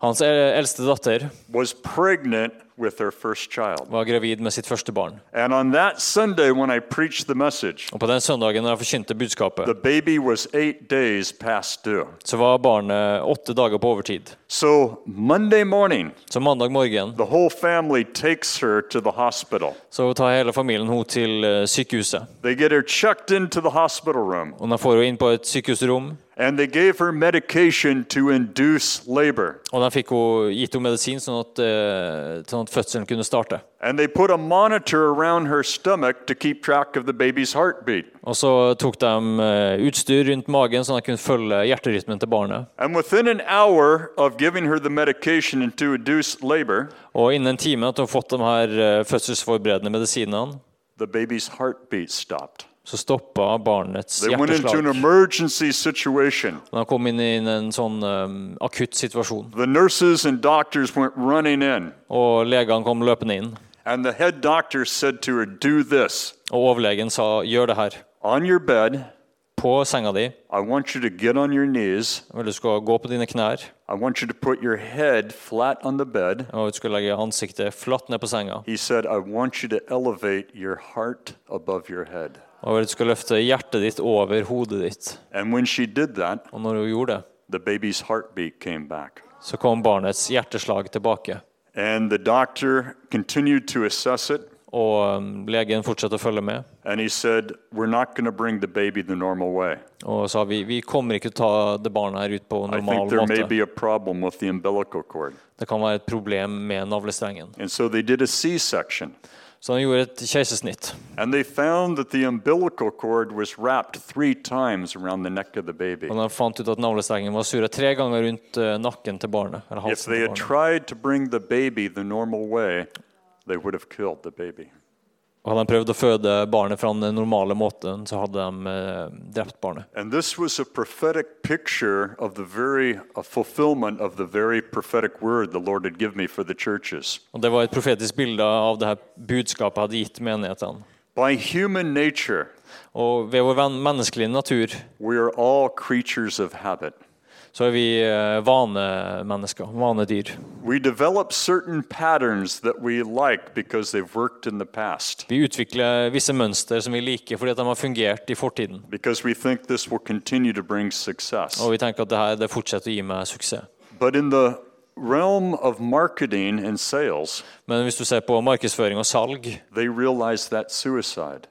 S3: hans el- eldste datter,
S2: was pregnant with her first child.
S3: var gravid med sitt første barn.
S2: And on that Sunday, when I preached the message,
S3: Og på den søndagen da jeg forkynte budskapet,
S2: the baby was eight days past due.
S3: så var barnet åtte dager på overtid.
S2: So Monday morning,
S3: Så mandag morgen
S2: the whole family takes her to the hospital.
S3: så tar hele familien henne til eh, sykehuset.
S2: They get her checked into the hospital room,
S3: Og de får henne inn på et sykehusrom,
S2: and they gave her medication to induce labor.
S3: og de fikk henne, gitt henne medisin sånn at, eh, sånn at fødselen kunne starte.
S2: And they put a monitor around her stomach to keep track of the baby's heartbeat.
S3: Og så tok de eh, utstyr rundt magen, sånn at de kunne følge hjerterytmen til barnet.
S2: And within an hour of giving her the medication and to induce labor,
S3: Og innen en time at hun hadde fått de her eh, fødselsforberedende medisinene,
S2: the baby's heartbeat stopped.
S3: så stoppa barnets
S2: They went into an
S3: hjerteslag.
S2: emergency situation.
S3: Og Han kom inn i en sånn eh, akutt situasjon,
S2: The nurses and doctors went running in,
S3: og legene kom løpende inn.
S2: and the head doctor said to her, Do this
S3: Og overlegen sa 'gjør det her'.
S2: on your bed.
S3: På senga di
S2: I want you to get on your knees.
S3: vil du skal gå på dine knær,
S2: I want you to put your head flat on the bed.
S3: og du skal legge ansiktet flatt ned på senga.
S2: He said, I want you to elevate your heart above your head.
S3: Og du skal løfte hjertet ditt over hodet ditt.
S2: And when she did that,
S3: Og når hun gjorde det,
S2: the baby's heartbeat came back.
S3: så kom barnets hjerteslag tilbake.
S2: And the doctor continued to assess it.
S3: Og eh, legen fortsatte å følge med
S2: And he said, We're not going to bring the baby the normal way.
S3: og sa vi, vi kommer ikke til å ta det barnet her ut på
S2: I think
S3: normal
S2: there may
S3: måte.
S2: be a problem with the umbilical cord.
S3: Det kan være et problem med navlestrengen.
S2: And so they did a C section.
S3: Så han gjorde et keisersnitt.
S2: And they found that the umbilical cord was wrapped three times around the neck of the baby.
S3: Og de fant ut at navlestrengen var surret tre ganger rundt eh, nakken til barnet. Eller
S2: If
S3: halsen
S2: they
S3: til
S2: had
S3: barnet.
S2: tried to bring the baby the normal way, they would have killed the baby.
S3: Og hadde de prøvd å føde barnet fra den normale måten, så hadde de eh, drept barnet.
S2: And this was a prophetic picture of the very a fulfillment of the very prophetic word the Lord had given me for the churches.
S3: Og Det var et profetisk bilde av det her budskapet jeg hadde gitt menighetene.
S2: By human nature,
S3: Og ved vår ven- menneskelige natur
S2: we are all creatures of habit.
S3: så er vi eh, vanemennesker, vanedyr.
S2: We develop certain patterns that we like because they've worked in the past,
S3: Vi utvikler visse mønster som vi liker fordi at de har fungert i fortiden.
S2: because we think this will continue to bring success.
S3: Og vi tenker at det her det fortsetter å gi meg suksess.
S2: But in the realm of marketing and sales,
S3: Men hvis du ser på markedsføring og salg,
S2: they realize that's suicide.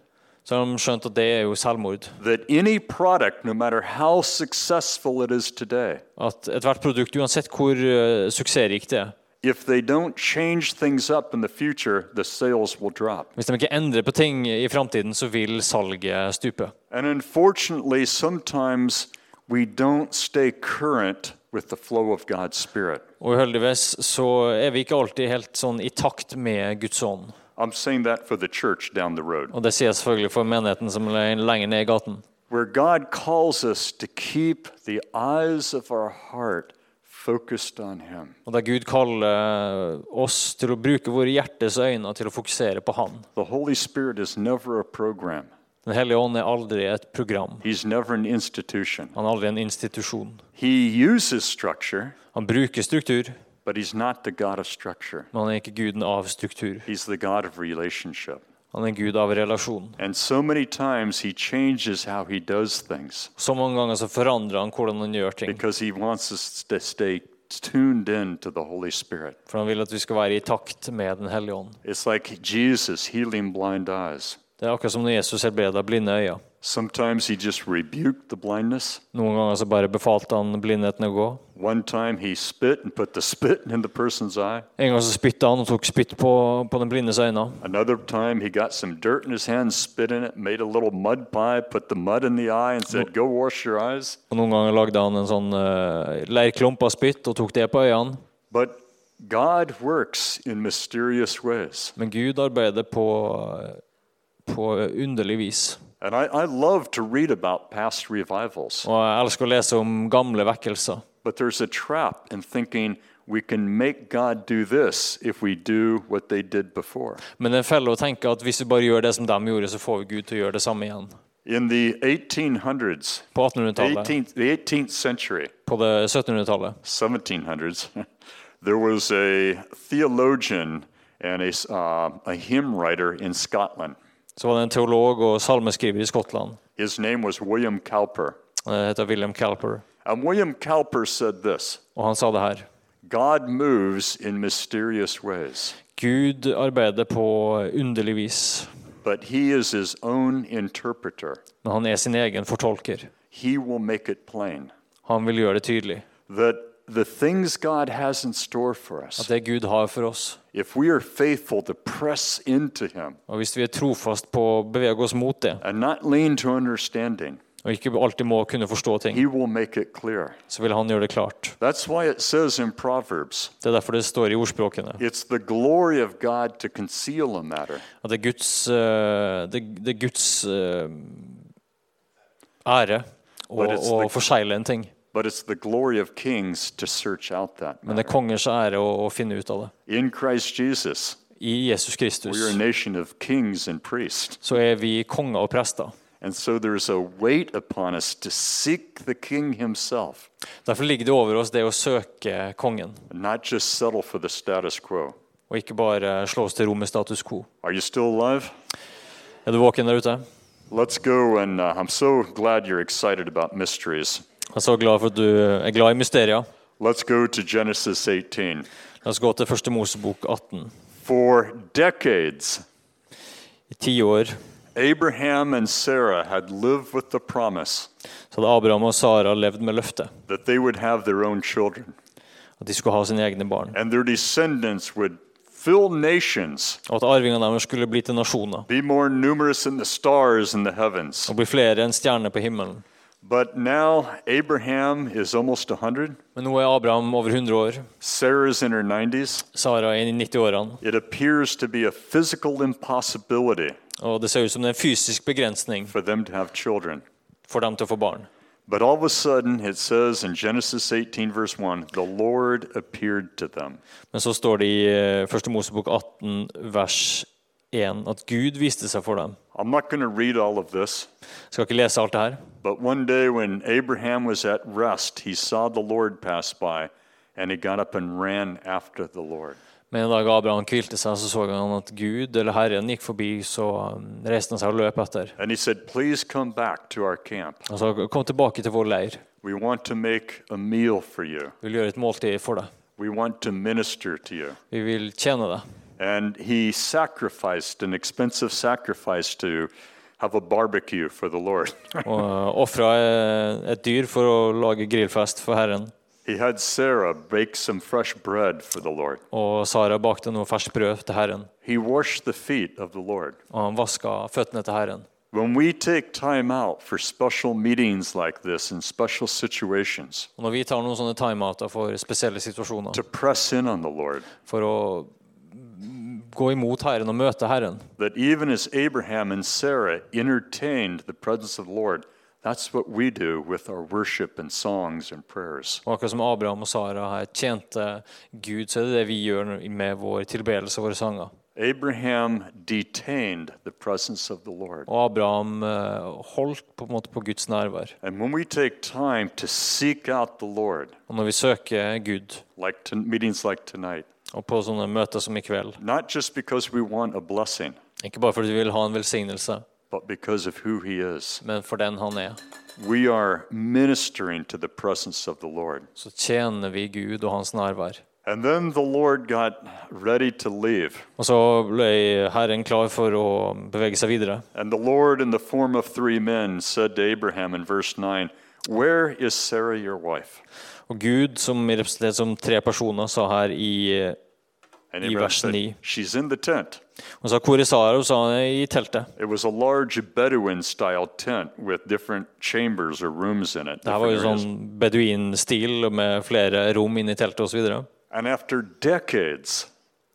S3: så har de skjønt at det er jo selvmord.
S2: That any product, no matter how successful it is today,
S3: At ethvert produkt, uansett hvor eh, suksessrikt det er,
S2: if they don't change things up in the future, the sales will drop.
S3: hvis de ikke endrer på ting i framtiden, så vil salget stupe.
S2: And unfortunately, sometimes we don't stay current with the flow of God's Spirit.
S3: Og uheldigvis så er vi ikke alltid helt sånn i takt med Guds ånd.
S2: I'm saying that for the church down the road,
S3: Og det sier jeg selvfølgelig for menigheten som er lenger ned i gaten.
S2: where God calls us to keep the eyes of our heart focused on Him.
S3: Og der Gud kaller eh, oss til å bruke våre hjertes øyne til å fokusere på Han.
S2: The Holy Spirit is never a program,
S3: Den hellige ånd er aldri et program.
S2: He's never an institution.
S3: Han er aldri en institusjon.
S2: He uses structure,
S3: Han bruker struktur,
S2: but He's not the God of structure.
S3: men han er ikke guden av struktur.
S2: He's the God of relationship.
S3: Han er gud av relasjon.
S2: And so many times he changes how he does things
S3: Så mange ganger så forandrer han hvordan han gjør ting,
S2: because he wants us to stay tuned in to the Holy Spirit.
S3: for han vil at vi skal være i takt med Den hellige ånd.
S2: It's like Jesus healing blind eyes.
S3: Det er akkurat som når Jesus helbreda blinde øyne.
S2: Sometimes he just rebuked the blindness.
S3: Noen ganger så bare befalte han blindheten å gå.
S2: One time he spit and put the spit in the person's eye.
S3: En gang så spytta han og tok spytt på, på den blindes øyne.
S2: Another time he got some dirt in his hand, spit in it, made a little mud pie, put the mud in the eye, and said, Go wash your eyes.
S3: Og noen ganger lagde han en sånn eh, leirklump av spytt og tok det på øynene.
S2: But God works in mysterious ways.
S3: Men Gud arbeider på, på underlig vis.
S2: And I, I love to read about past revivals.
S3: Og jeg elsker å lese om gamle vekkelser.
S2: But there's a trap in thinking we can make God do this if we do what they did before.
S3: Men det er en felle å tenke at hvis vi bare gjør det som de gjorde, så får vi Gud til å gjøre det samme igjen.
S2: In the 1800s,
S3: På 1800-tallet,
S2: 18th, the 18th century,
S3: på det 1700-tallet,
S2: 1700s, there was a theologian and a, s- uh, a hymn writer in Scotland.
S3: så var det en teolog og salmeskriver i Skottland.
S2: His name was William Cowper.
S3: Han heter William Calper,
S2: And William Cowper said this
S3: og han sa det her.
S2: God moves in mysterious ways.
S3: Gud arbeider på underlig vis,
S2: But he is his own interpreter.
S3: men han er sin egen fortolker.
S2: He will make it plain
S3: Han vil gjøre det tydelig
S2: that the things God has in store for
S3: at
S2: us,
S3: det Gud har for oss.
S2: if we are faithful to press into him
S3: Og hvis vi er trofast på å bevege oss mot det,
S2: and not lean to understanding,
S3: og ikke alltid må kunne forstå ting,
S2: he will make it clear.
S3: så vil han gjøre det klart.
S2: That's why it says in Proverbs
S3: Det er derfor det står i ordspråkene
S2: it's the glory of God to conceal a matter,
S3: at det er Guds, eh, det, det er Guds eh, ære og,
S2: But it's
S3: og
S2: the-
S3: forsegle en ting.
S2: But it's the glory of kings to search out that.
S3: Men det er kongers ære å, å finne ut av det.
S2: In Christ Jesus,
S3: I Jesus Kristus
S2: we are a nation of kings and priests.
S3: så er vi konger og prester.
S2: And so there's a weight upon us to seek the king himself,
S3: Derfor ligger det over oss det å søke kongen,
S2: and not just settle for the status quo.
S3: og ikke bare slå oss til ro med status quo.
S2: Are you still alive?
S3: Er du våken der ute?
S2: Let's go, and uh, I'm so glad you're excited about mysteries.
S3: Jeg er så glad for at du er glad i mysterier.
S2: Let's go to Genesis 18.
S3: La oss gå til første Mosebok 18.
S2: For decades,
S3: I ti år
S2: Abraham and Sarah had lived with the promise
S3: så hadde Abraham og Sara levd med løftet
S2: that they would have their own children,
S3: at de skulle ha sine egne barn,
S2: and their descendants would fill nations,
S3: og at arvingene deres skulle bli til nasjoner
S2: be more numerous than the stars in the heavens.
S3: og bli flere enn stjerner på himmelen.
S2: But now Abraham is almost 100,
S3: Men nå er Abraham over 100 år,
S2: Sarah's in her 90s.
S3: Sara er i 90-årene,
S2: It appears to be a physical impossibility
S3: og det ser ut som det er en fysisk begrensning
S2: for them to have children.
S3: for dem til å få barn.
S2: But all of a sudden, it says in Genesis 18, verse 1, the Lord appeared to them.
S3: Men så står det i eh, første Mosebok 18 vers 1 at Gud viste seg for dem.
S2: I'm not going to read all of this,
S3: Jeg skal ikke lese alt det her,
S2: but one day when Abraham was at rest, he saw the Lord pass by, and he got up and ran after the Lord.
S3: men en dag Abraham hvilte seg, så så han at Gud eller Herren gikk forbi, så eh, reiste han seg og løp etter.
S2: And he said, Please come back to our camp.
S3: Han sa kom tilbake til vår leir,
S2: We want to make a meal for you,
S3: vi vil gjøre et måltid for deg.
S2: we want to minister to you.
S3: Vi vil tjene deg.
S2: And he sacrificed an expensive sacrifice to have a barbecue for the Lord.
S3: Og eh, ofra eh, et dyr for å lage grillfest for Herren.
S2: he had Sarah bake some fresh bread for the Lord.
S3: Og Sara bakte noe ferskt brød til Herren,
S2: He washed the feet of the Lord.
S3: og han vaska føttene til Herren.
S2: When we take time out for special meetings like this and special situations
S3: Og når vi tar noen sånne timeouter for spesielle situasjoner,
S2: to press in on the Lord,
S3: for å gå imot Herren og møte Herren,
S2: that even as Abraham and Sarah entertained the presence of the Lord, that's what we do with our worship and songs and prayers.
S3: og akkurat som Abraham og Sara her tjente Gud, så er det det vi gjør nå med vår tilbedelse og våre sanger.
S2: Abraham detained the presence of the Lord.
S3: Og Abraham eh, holdt på en måte på Guds nærvær.
S2: And when we take time to seek out the Lord,
S3: Og når vi søker Gud,
S2: like to, meetings like tonight,
S3: og på sånne møter som i kveld,
S2: not just because we want a blessing,
S3: ikke bare fordi vi vil ha en velsignelse,
S2: but because of who He is,
S3: men for den han er,
S2: we are ministering to the presence of the Lord.
S3: så tjener vi Gud og hans nærvær.
S2: And then the Lord got ready to leave.
S3: Og så ble Herren klar for å bevege seg videre.
S2: And the Lord, in the form of three men, said to Abraham in verse 9, Where is Sarah your wife?
S3: Og Gud, som er representert som tre personer, sa her i
S2: And
S3: I
S2: Abraham
S3: vers
S2: said,
S3: 9.
S2: She's in the tent.
S3: Hun sa hvor er Sara? Hun sa hun er i teltet.
S2: It was a large Bedouin style tent with different chambers or rooms in it.
S3: Det her var jo
S2: different areas.
S3: sånn beduinstil med flere rom inne i teltet osv. Og
S2: And after decades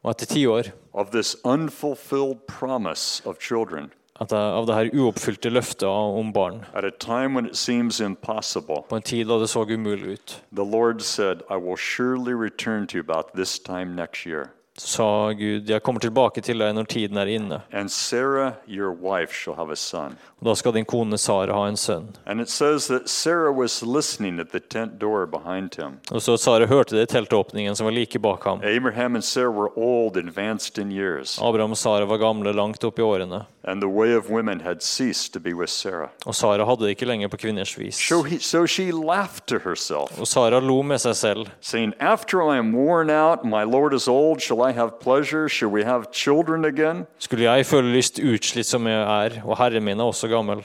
S3: etter ti år
S2: of this unfulfilled promise of children,
S3: at jeg, av det her uoppfylte løftet om barn,
S2: at a time when it seems impossible,
S3: på en tid da det så umulig ut,
S2: the Lord said, I will surely return to you about this time next year.
S3: så sa Gud jeg kommer tilbake til deg når tiden er inne.
S2: And Sarah, your wife, shall have a son.
S3: Og da skal din kone Sara ha en sønn.
S2: And it says that Sarah was listening at the tent door behind him.
S3: Og så at Sara hørte det i teltåpningen som var like bak ham.
S2: Abraham and Sarah were old, advanced in years,
S3: Abraham og Sara var gamle langt opp i årene,
S2: and the way of women had ceased to be with Sarah.
S3: og Sara hadde det ikke lenger på kvinners vis.
S2: So, he, so she laughed to herself,
S3: Og Sara lo med seg selv.
S2: saying, After I am worn out, my Lord is old, shall I have pleasure? Shall we have children again?
S3: Skulle jeg føle lyst utslitt som jeg er, og herren min er også gammel?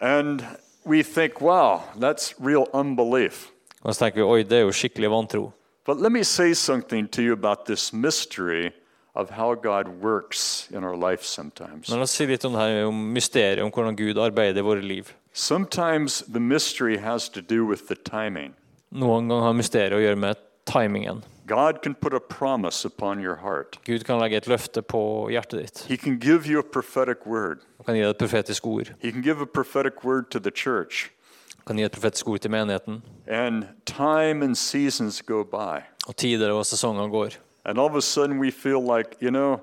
S2: And we think, wow, that's real unbelief.
S3: Og så tenker vi oi, det er jo skikkelig vantro.
S2: But let me say something to you about this mystery of how God works in our life sometimes.
S3: Men la oss si litt om det her, om mysteriet om hvordan Gud arbeider i våre liv.
S2: Sometimes the mystery has to do with the timing.
S3: Noen ganger har mysteriet å gjøre med timingen.
S2: God can put a promise upon your heart.
S3: Gud kan legge et løfte på hjertet ditt.
S2: He can give you a prophetic word.
S3: Han kan gi deg et profetisk ord.
S2: He can give a prophetic word to the church.
S3: Han kan gi et profetisk ord til menigheten.
S2: And time and seasons go by.
S3: Og tider og sesonger går.
S2: And all of a sudden we feel like, you know,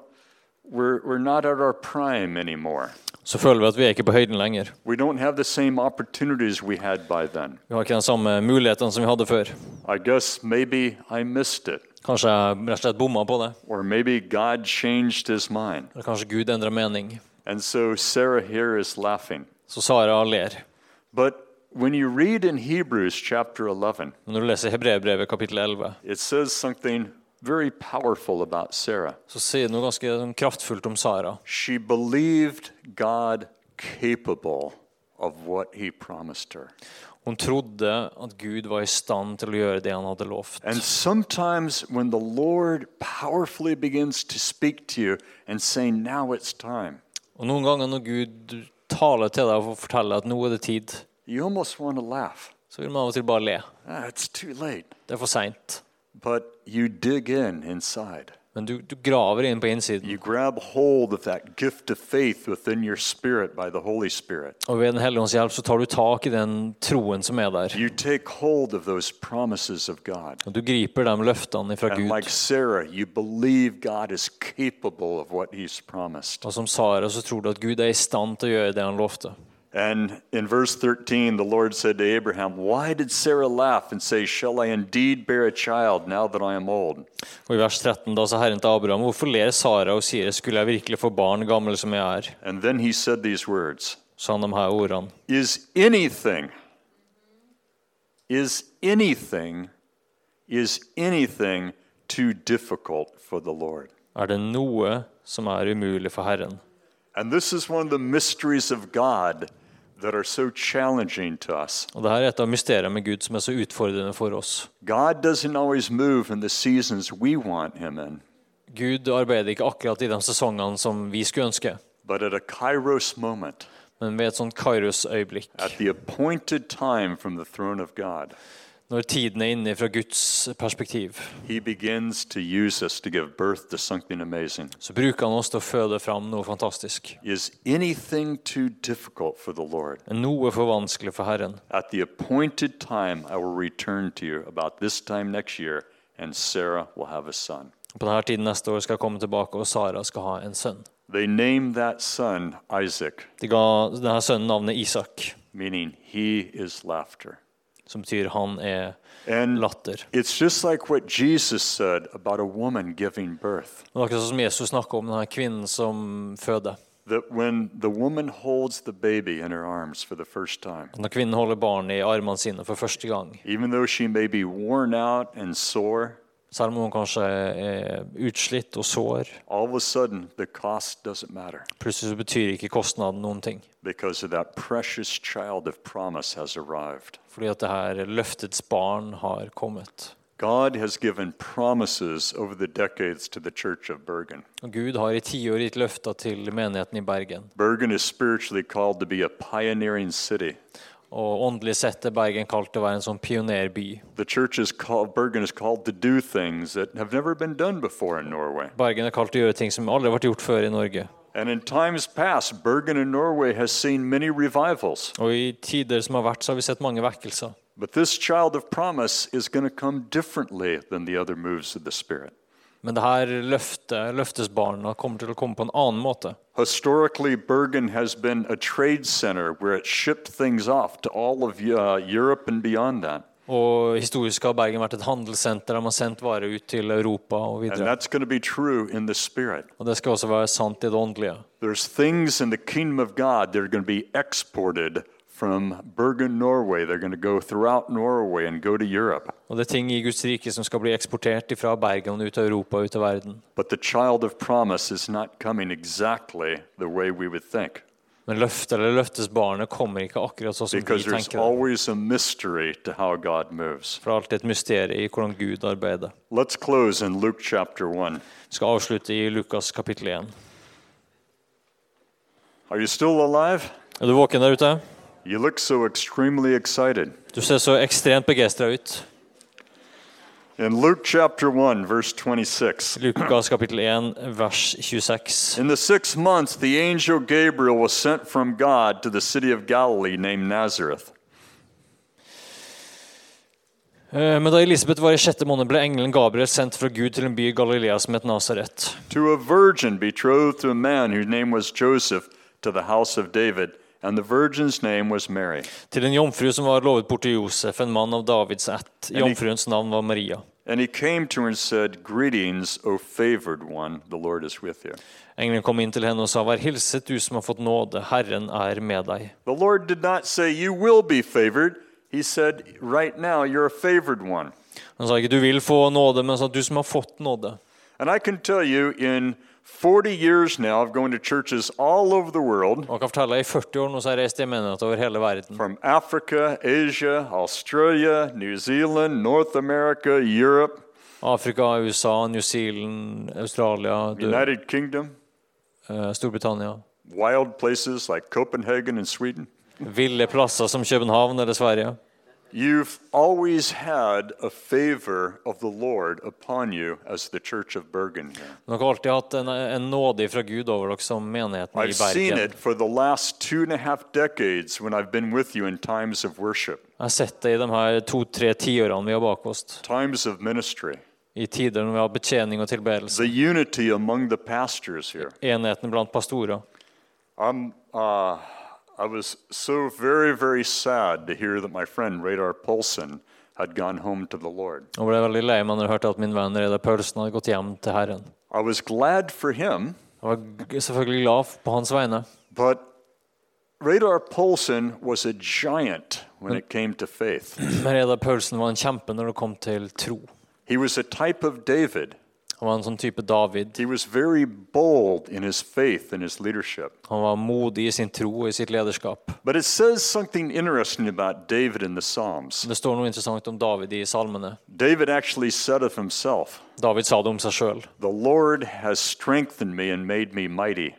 S2: we're, we're not at our prime anymore.
S3: Så føler vi at vi er ikke på høyden lenger.
S2: We don't have the same opportunities we had by then.
S3: Vi har ikke de samme mulighetene som vi hadde før.
S2: I guess maybe I missed it,
S3: Kanskje jeg rett og slett bomma på det.
S2: or maybe God changed his mind.
S3: Eller kanskje Gud endra mening.
S2: And so Sarah here is laughing.
S3: Så Sara ler.
S2: But when you read in Hebrews chapter 11,
S3: Men når du leser Hebreerbrevet kapittel 11,
S2: it says something very powerful about Sarah.
S3: så sier det noe ganske sånn kraftfullt om Sara.
S2: She believed God capable of what he promised her.
S3: Hun trodde at Gud var i stand til å gjøre det han hadde lovt.
S2: And sometimes when the Lord powerfully begins to speak to you and say, Now it's time,
S3: Og noen ganger når Gud taler til deg og forteller at nå er det tid,
S2: you almost want to laugh.
S3: så vil man av og til bare le.
S2: Ah, it's too late.
S3: Det er for seint.
S2: But you dig in inside.
S3: Men du, du graver inn på innsiden.
S2: You grab hold of that gift of faith within your spirit by the Holy Spirit.
S3: Og ved Den hellige ånds hjelp så tar du tak i den troen som er der.
S2: You take hold of those promises of God.
S3: Og du griper de løftene fra
S2: And like
S3: Gud.
S2: Sarah, you believe God is capable of what he's promised.
S3: Og som Sara så tror du at Gud er i stand til å gjøre det han lovte.
S2: And in verse 13, the Lord said to Abraham, Why did Sarah laugh and say, Shall I indeed bear a child now that I am old?
S3: Og i vers 13 da sa Herren til Abraham, hvorfor ler Sara og sier, skulle jeg virkelig få barn gammel som jeg er?
S2: And then he said these words
S3: Sa han de her ordene.
S2: Is anything, is anything, is anything too difficult for the Lord?
S3: Er det noe som er umulig for Herren?
S2: And this is one of the mysteries of God that are so challenging to us.
S3: Og det her er et av mysteriene med Gud som er så utfordrende for oss.
S2: God doesn't always move in the seasons we want him in,
S3: Gud arbeider ikke akkurat i de sesongene som vi skulle ønske,
S2: but at a kairos moment,
S3: men ved et sånt Kairos-øyeblikk.
S2: at the appointed time from the throne of God,
S3: Når tiden er inne fra Guds perspektiv,
S2: he begins to use us to give birth to something amazing.
S3: så bruker han oss til å føde fram noe fantastisk.
S2: Is anything too difficult for the Lord?
S3: Noe for vanskelig for Herren.
S2: At the appointed time, I will return to you about this time next year, and Sarah will have a son.
S3: På denne tiden neste år skal jeg komme tilbake, og Sara skal ha en sønn.
S2: They named that son Isaac,
S3: De ga denne sønnen navnet Isak,
S2: meaning he is laughter.
S3: som betyr han er
S2: And
S3: latter.
S2: It's just like what Jesus said about a woman giving birth.
S3: Men akkurat sånn som Jesus snakker om denne kvinnen som føder.
S2: That when the woman holds the baby in her arms for the first time,
S3: Når kvinnen holder barnet i armene sine for første gang,
S2: even though she may be worn out and sore,
S3: selv om hun kanskje er utslitt og sår,
S2: all of a sudden the cost doesn't matter
S3: plutselig så betyr ikke kostnaden noen ting.
S2: because of that precious child of promise has arrived.
S3: Fordi at det her løftets barn har kommet.
S2: God has given promises over the decades to the Church of Bergen.
S3: Og Gud har i tiår gitt løfter til menigheten i Bergen.
S2: Bergen is spiritually called to be a pioneering city.
S3: Og åndelig sett er Bergen kalt til å være en sånn pionerby.
S2: The church is called, Bergen is called to do things that have never been done before in Norway.
S3: Bergen er kalt til å gjøre ting som aldri har vært gjort før i Norge.
S2: And in times past, Bergen in Norway has seen many revivals.
S3: Og i tider som har vært, så har vi sett mange vekkelser.
S2: But this child of promise is going to come differently than the other moves of the Spirit.
S3: Men det her løftet, løftesbarna, kommer til å komme på en annen måte.
S2: Historically, Bergen has been a trade center where it shipped things off to all of uh, Europe and beyond that.
S3: Og historisk har Bergen vært et handelssenter der man har sendt varer ut til Europa og
S2: And
S3: videre.
S2: that's going to be true in the Spirit.
S3: Og det skal også være sant i det åndelige.
S2: There's things in the kingdom of God that are going to be exported from Bergen, Norway. They're going to go throughout Norway and go to Europe.
S3: Og det er ting i Guds rike som skal bli eksportert fra Bergen ut av Europa og ut av verden.
S2: But the child of promise is not coming exactly the way we would think
S3: Men løftet eller løftesbarnet kommer ikke akkurat sånn som vi
S2: because there's
S3: tenker. det.
S2: always a mystery to how God moves.
S3: For det er alltid et mysterium i hvordan Gud arbeider.
S2: Let's close in Luke chapter 1.
S3: Vi skal avslutte i Lukas kapittel 1.
S2: Are you still alive?
S3: Er du våken der ute?
S2: You look so extremely excited.
S3: Du ser så ekstremt begeistra ut.
S2: In Luke chapter 1, verse 26,
S3: Lukas kapittel 1, vers 26.
S2: in the sixth month, the angel Gabriel was sent from God to the city of Galilee named Nazareth.
S3: Eh, Men da Elisabeth var i sjette måned, ble engelen Gabriel sendt fra Gud til en by i Galilea som het Nasaret.
S2: to a virgin betrothed to a man whose name was Joseph to the house of David, and the virgin's name was Mary.
S3: Til en jomfru som var lovet bort til Josef, en mann av Davids ett. Jomfruens navn var Maria.
S2: And he came to her and said, Greetings, O favored one, the Lord is with you.
S3: Engelen kom inn til henne og sa, Vær hilset, du som har fått nåde. Herren er med deg.
S2: The Lord did not say, You will be favored. He said, Right now, you're a favored one.
S3: Han sa ikke du vil få nåde, men han sa du som har fått nåde.
S2: And I can tell you, in 40 years now of going to churches all over the world,
S3: Og jeg kan fortelle deg, I 40 år nå så har jeg reist i menighet over hele verden.
S2: from Africa, Asia, Australia, New Zealand, North America, Europe,
S3: Afrika, USA, New Zealand, Australia, du,
S2: United Kingdom,
S3: eh, Storbritannia.
S2: wild places like Copenhagen and Sweden.
S3: Ville plasser som København eller Sverige.
S2: You've always had a favor of the Lord upon you as the Church of Bergen. here.
S3: Dere har alltid hatt en, en nåde fra Gud over dere som menigheten i
S2: I've seen
S3: Bergen.
S2: it for the last two and a half decades when I've been with you in times of worship,
S3: Jeg har sett det i de her to-tre tiårene vi har bak oss.
S2: times of ministry,
S3: I tider når vi har betjening og tilbedelse.
S2: the unity among the pastors here.
S3: Enheten blant pastorer.
S2: I'm, uh, I was so very, very sad to hear that my friend Radar Polson had gone home to the Lord.
S3: Og ble veldig lei meg når jeg hørte at min venn Reidar Paulsen hadde gått hjem til Herren.
S2: I was glad for him.
S3: Jeg var g- selvfølgelig glad på hans vegne.
S2: But Radar Polson was a giant when it came to faith.
S3: Men Reidar Paulsen var en kjempe når det kom til tro.
S2: He was a type of David.
S3: Han var en sånn type David.
S2: He was very bold in his faith and his leadership.
S3: Han var modig i sin tro og i sitt lederskap.
S2: But it says something interesting about David in the Psalms.
S3: Det står noe interessant om David i salmene.
S2: David actually said of himself,
S3: David sa det om seg sjøl.
S2: The Lord has strengthened me and made me mighty,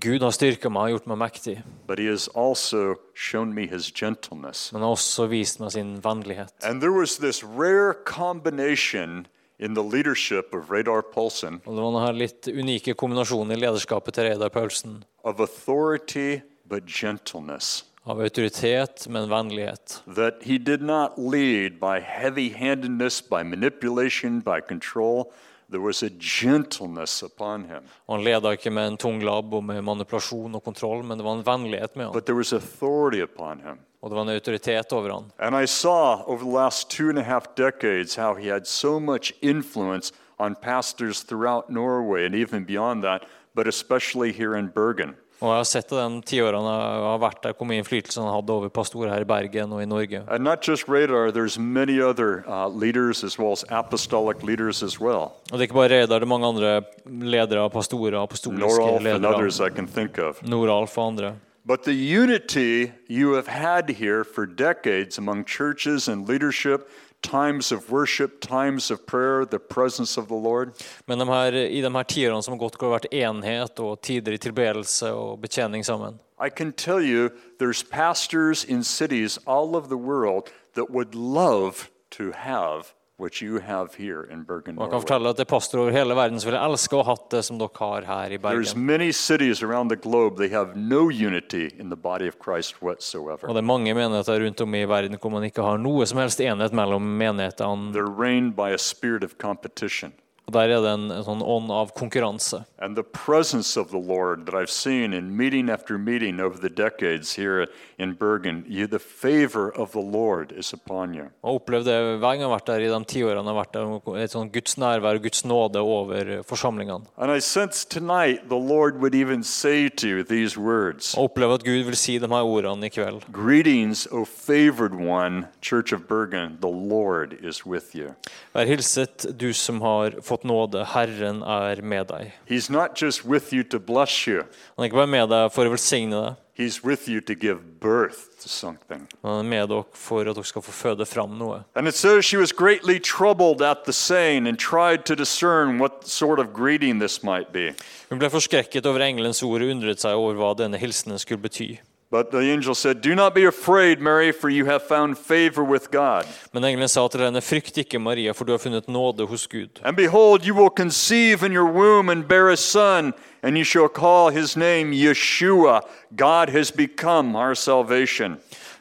S3: Gud har styrka meg og gjort meg mektig,
S2: but he has also shown me his gentleness.
S3: men har også vist meg sin vennlighet.
S2: And there was this rare combination in the leadership of Radar Polson
S3: Og Det var denne litt unike kombinasjonen i lederskapet til Reidar Paulsen.
S2: of authority but gentleness.
S3: Av autoritet, men vennlighet.
S2: That he did not lead by heavy handedness, by manipulation, by control. There was a gentleness upon him,
S3: Og Han leda ikke med en tung labb og med manipulasjon og kontroll, men det var en vennlighet med han.
S2: but there was authority upon him.
S3: Og det var en autoritet over han.
S2: And I saw over the last two and a half decades how he had so much influence on pastors throughout Norway and even beyond that, but especially here in Bergen.
S3: Og jeg har sett det de tiårene jeg har vært der, hvor mye innflytelse han hadde over pastorer her i Bergen og i Norge.
S2: And not just Radar, there's many other uh, leaders as well as apostolic leaders as well.
S3: Og det er ikke bare Reidar, det er mange andre ledere, pastorer, apostoliske
S2: Noralf and others
S3: ledere.
S2: I can think of.
S3: Noralf og andre.
S2: But the unity you have had here for decades among churches and leadership, times of worship, times of prayer, the presence of the Lord,
S3: Men de her, i de her tiårene som har gått, hvor det har vært enhet og tider i tilbedelse og betjening sammen.
S2: I can tell you there's pastors in cities all over the world that would love to have what you have here in Bergen.
S3: Man kan
S2: Norway.
S3: fortelle at det er pastorer over hele verden som ville elske å ha hatt det som dere har her i
S2: There's
S3: Bergen.
S2: many cities around the globe they have no unity in the body of Christ whatsoever.
S3: Og det er mange menigheter rundt om i verden hvor man ikke har noe som helst enhet mellom menighetene.
S2: They're reigned by a spirit of competition.
S3: Og der er det en, en sånn ånd av konkurranse.
S2: And the presence of the Lord that I've seen in meeting after meeting over the decades here in Bergen, you, the favor of the Lord is upon you.
S3: Og opplevd det hver gang jeg har vært der i de tiårene jeg har vært der. Et sånn Guds nærvær og Guds nåde over forsamlingene.
S2: And I sense tonight the Lord would even say to you these words
S3: Og oppleve at Gud vil si de her ordene i kveld.
S2: Greetings, O favored one, Church of Bergen, the Lord is with you.
S3: Vær hilset, du som har fått nåde. Herren er med deg.
S2: He's not just with you to bless you,
S3: Han er ikke bare med deg for å velsigne deg,
S2: He's with you to give birth to something.
S3: men han er med dere for at dere skal få føde fram noe.
S2: And it says she was greatly troubled at the saying and tried to discern what sort of greeting this might be.
S3: Hun ble forskrekket over engelens ord og undret seg over hva denne hilsenen skulle bety.
S2: But the angel said, Do not be afraid, Mary, for you have found favor with God.
S3: Men engelen sa til henne, frykt ikke, Maria, for du har funnet nåde hos Gud.
S2: And behold, you will conceive in your womb and bear a son, and you shall call his name Yeshua. God has become our salvation.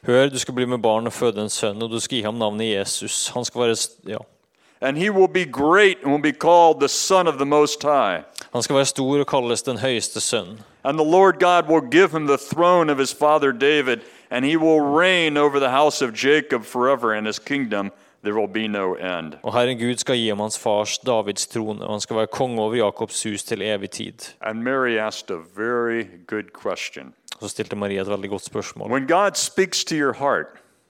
S3: Hør, du skal bli med barn og føde en sønn, og du skal gi ham navnet Jesus. Han skal være, st- ja.
S2: And he will be great and will be called the Son of the Most High.
S3: han skal være stor og kalles den høyeste sønn.
S2: And the Lord God will give him the throne of his father David, and he will reign over the house of Jacob forever, and his kingdom there will be no end.
S3: Og Herren Gud skal gi ham hans fars Davids trone, og han skal være konge over Jakobs hus til evig tid.
S2: And Mary asked a very good question.
S3: Og så stilte Maria et veldig godt spørsmål.
S2: When God speaks to your heart,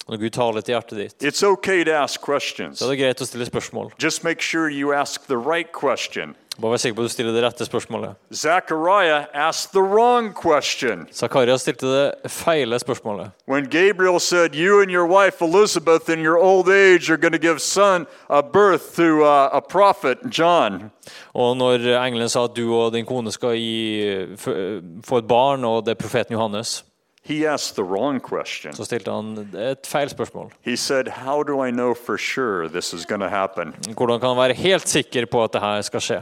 S3: Når Gud taler til hjertet ditt,
S2: it's okay to ask questions.
S3: så er det greit å stille spørsmål.
S2: Just make sure you ask the right question.
S3: Bare vær sikker på at du stiller det rette spørsmålet.
S2: Zechariah asked the wrong question.
S3: Zakarias stilte det feile spørsmålet.
S2: When Gabriel said, You and your wife Elizabeth in your old age are going to give son a birth to uh, a prophet, John.
S3: Og når engelen sa at du og din kone skal gi, f- få et barn, og det er profeten Johannes,
S2: He asked the wrong question.
S3: så stilte han et feil spørsmål.
S2: He said, How do I know for sure this is going to happen?
S3: Hvordan kan han være helt sikker på at det her skal skje?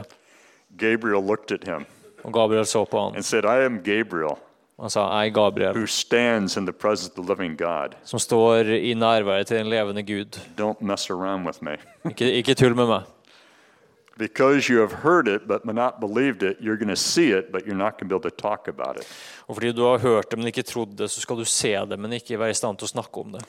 S2: Gabriel looked at him
S3: Og Gabriel så på han
S2: and said, I am Gabriel,
S3: og sa, «Jeg, Gabriel,
S2: who stands in the presence of the living God.
S3: som står i nærværet til den levende Gud.
S2: Don't mess around with me.
S3: Ikke, ikke tull med meg.
S2: Because you have heard it but not believed it, you're going to see it, but you're not going to be able to talk about it.
S3: Og fordi du har hørt det, men ikke trodd det, så skal du se det, men ikke være i stand til å snakke om det.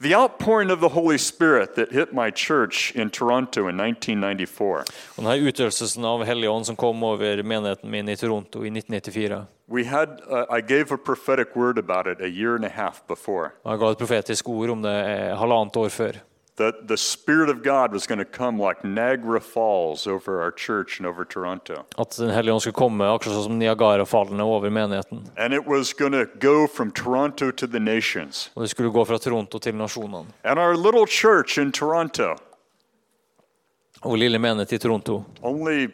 S2: The outpouring of the Holy Spirit that hit my church in Toronto in 1994,
S3: Og denne utøvelsen av Hellige Ånd som kom over menigheten min i Toronto i 1994,
S2: we had, uh, I gave a prophetic word about it a year and a half before,
S3: og jeg ga et profetisk ord om det eh, halvannet år før,
S2: that the Spirit of God was going to come like Niagara Falls over our church and over Toronto.
S3: at Den hellige ånd skulle komme, akkurat sånn som Niagarafallene over menigheten.
S2: And it was going to go from Toronto to the nations.
S3: Og det skulle gå fra Toronto til nasjonene.
S2: And our little church in Toronto,
S3: Og vår lille menighet i Toronto,
S2: only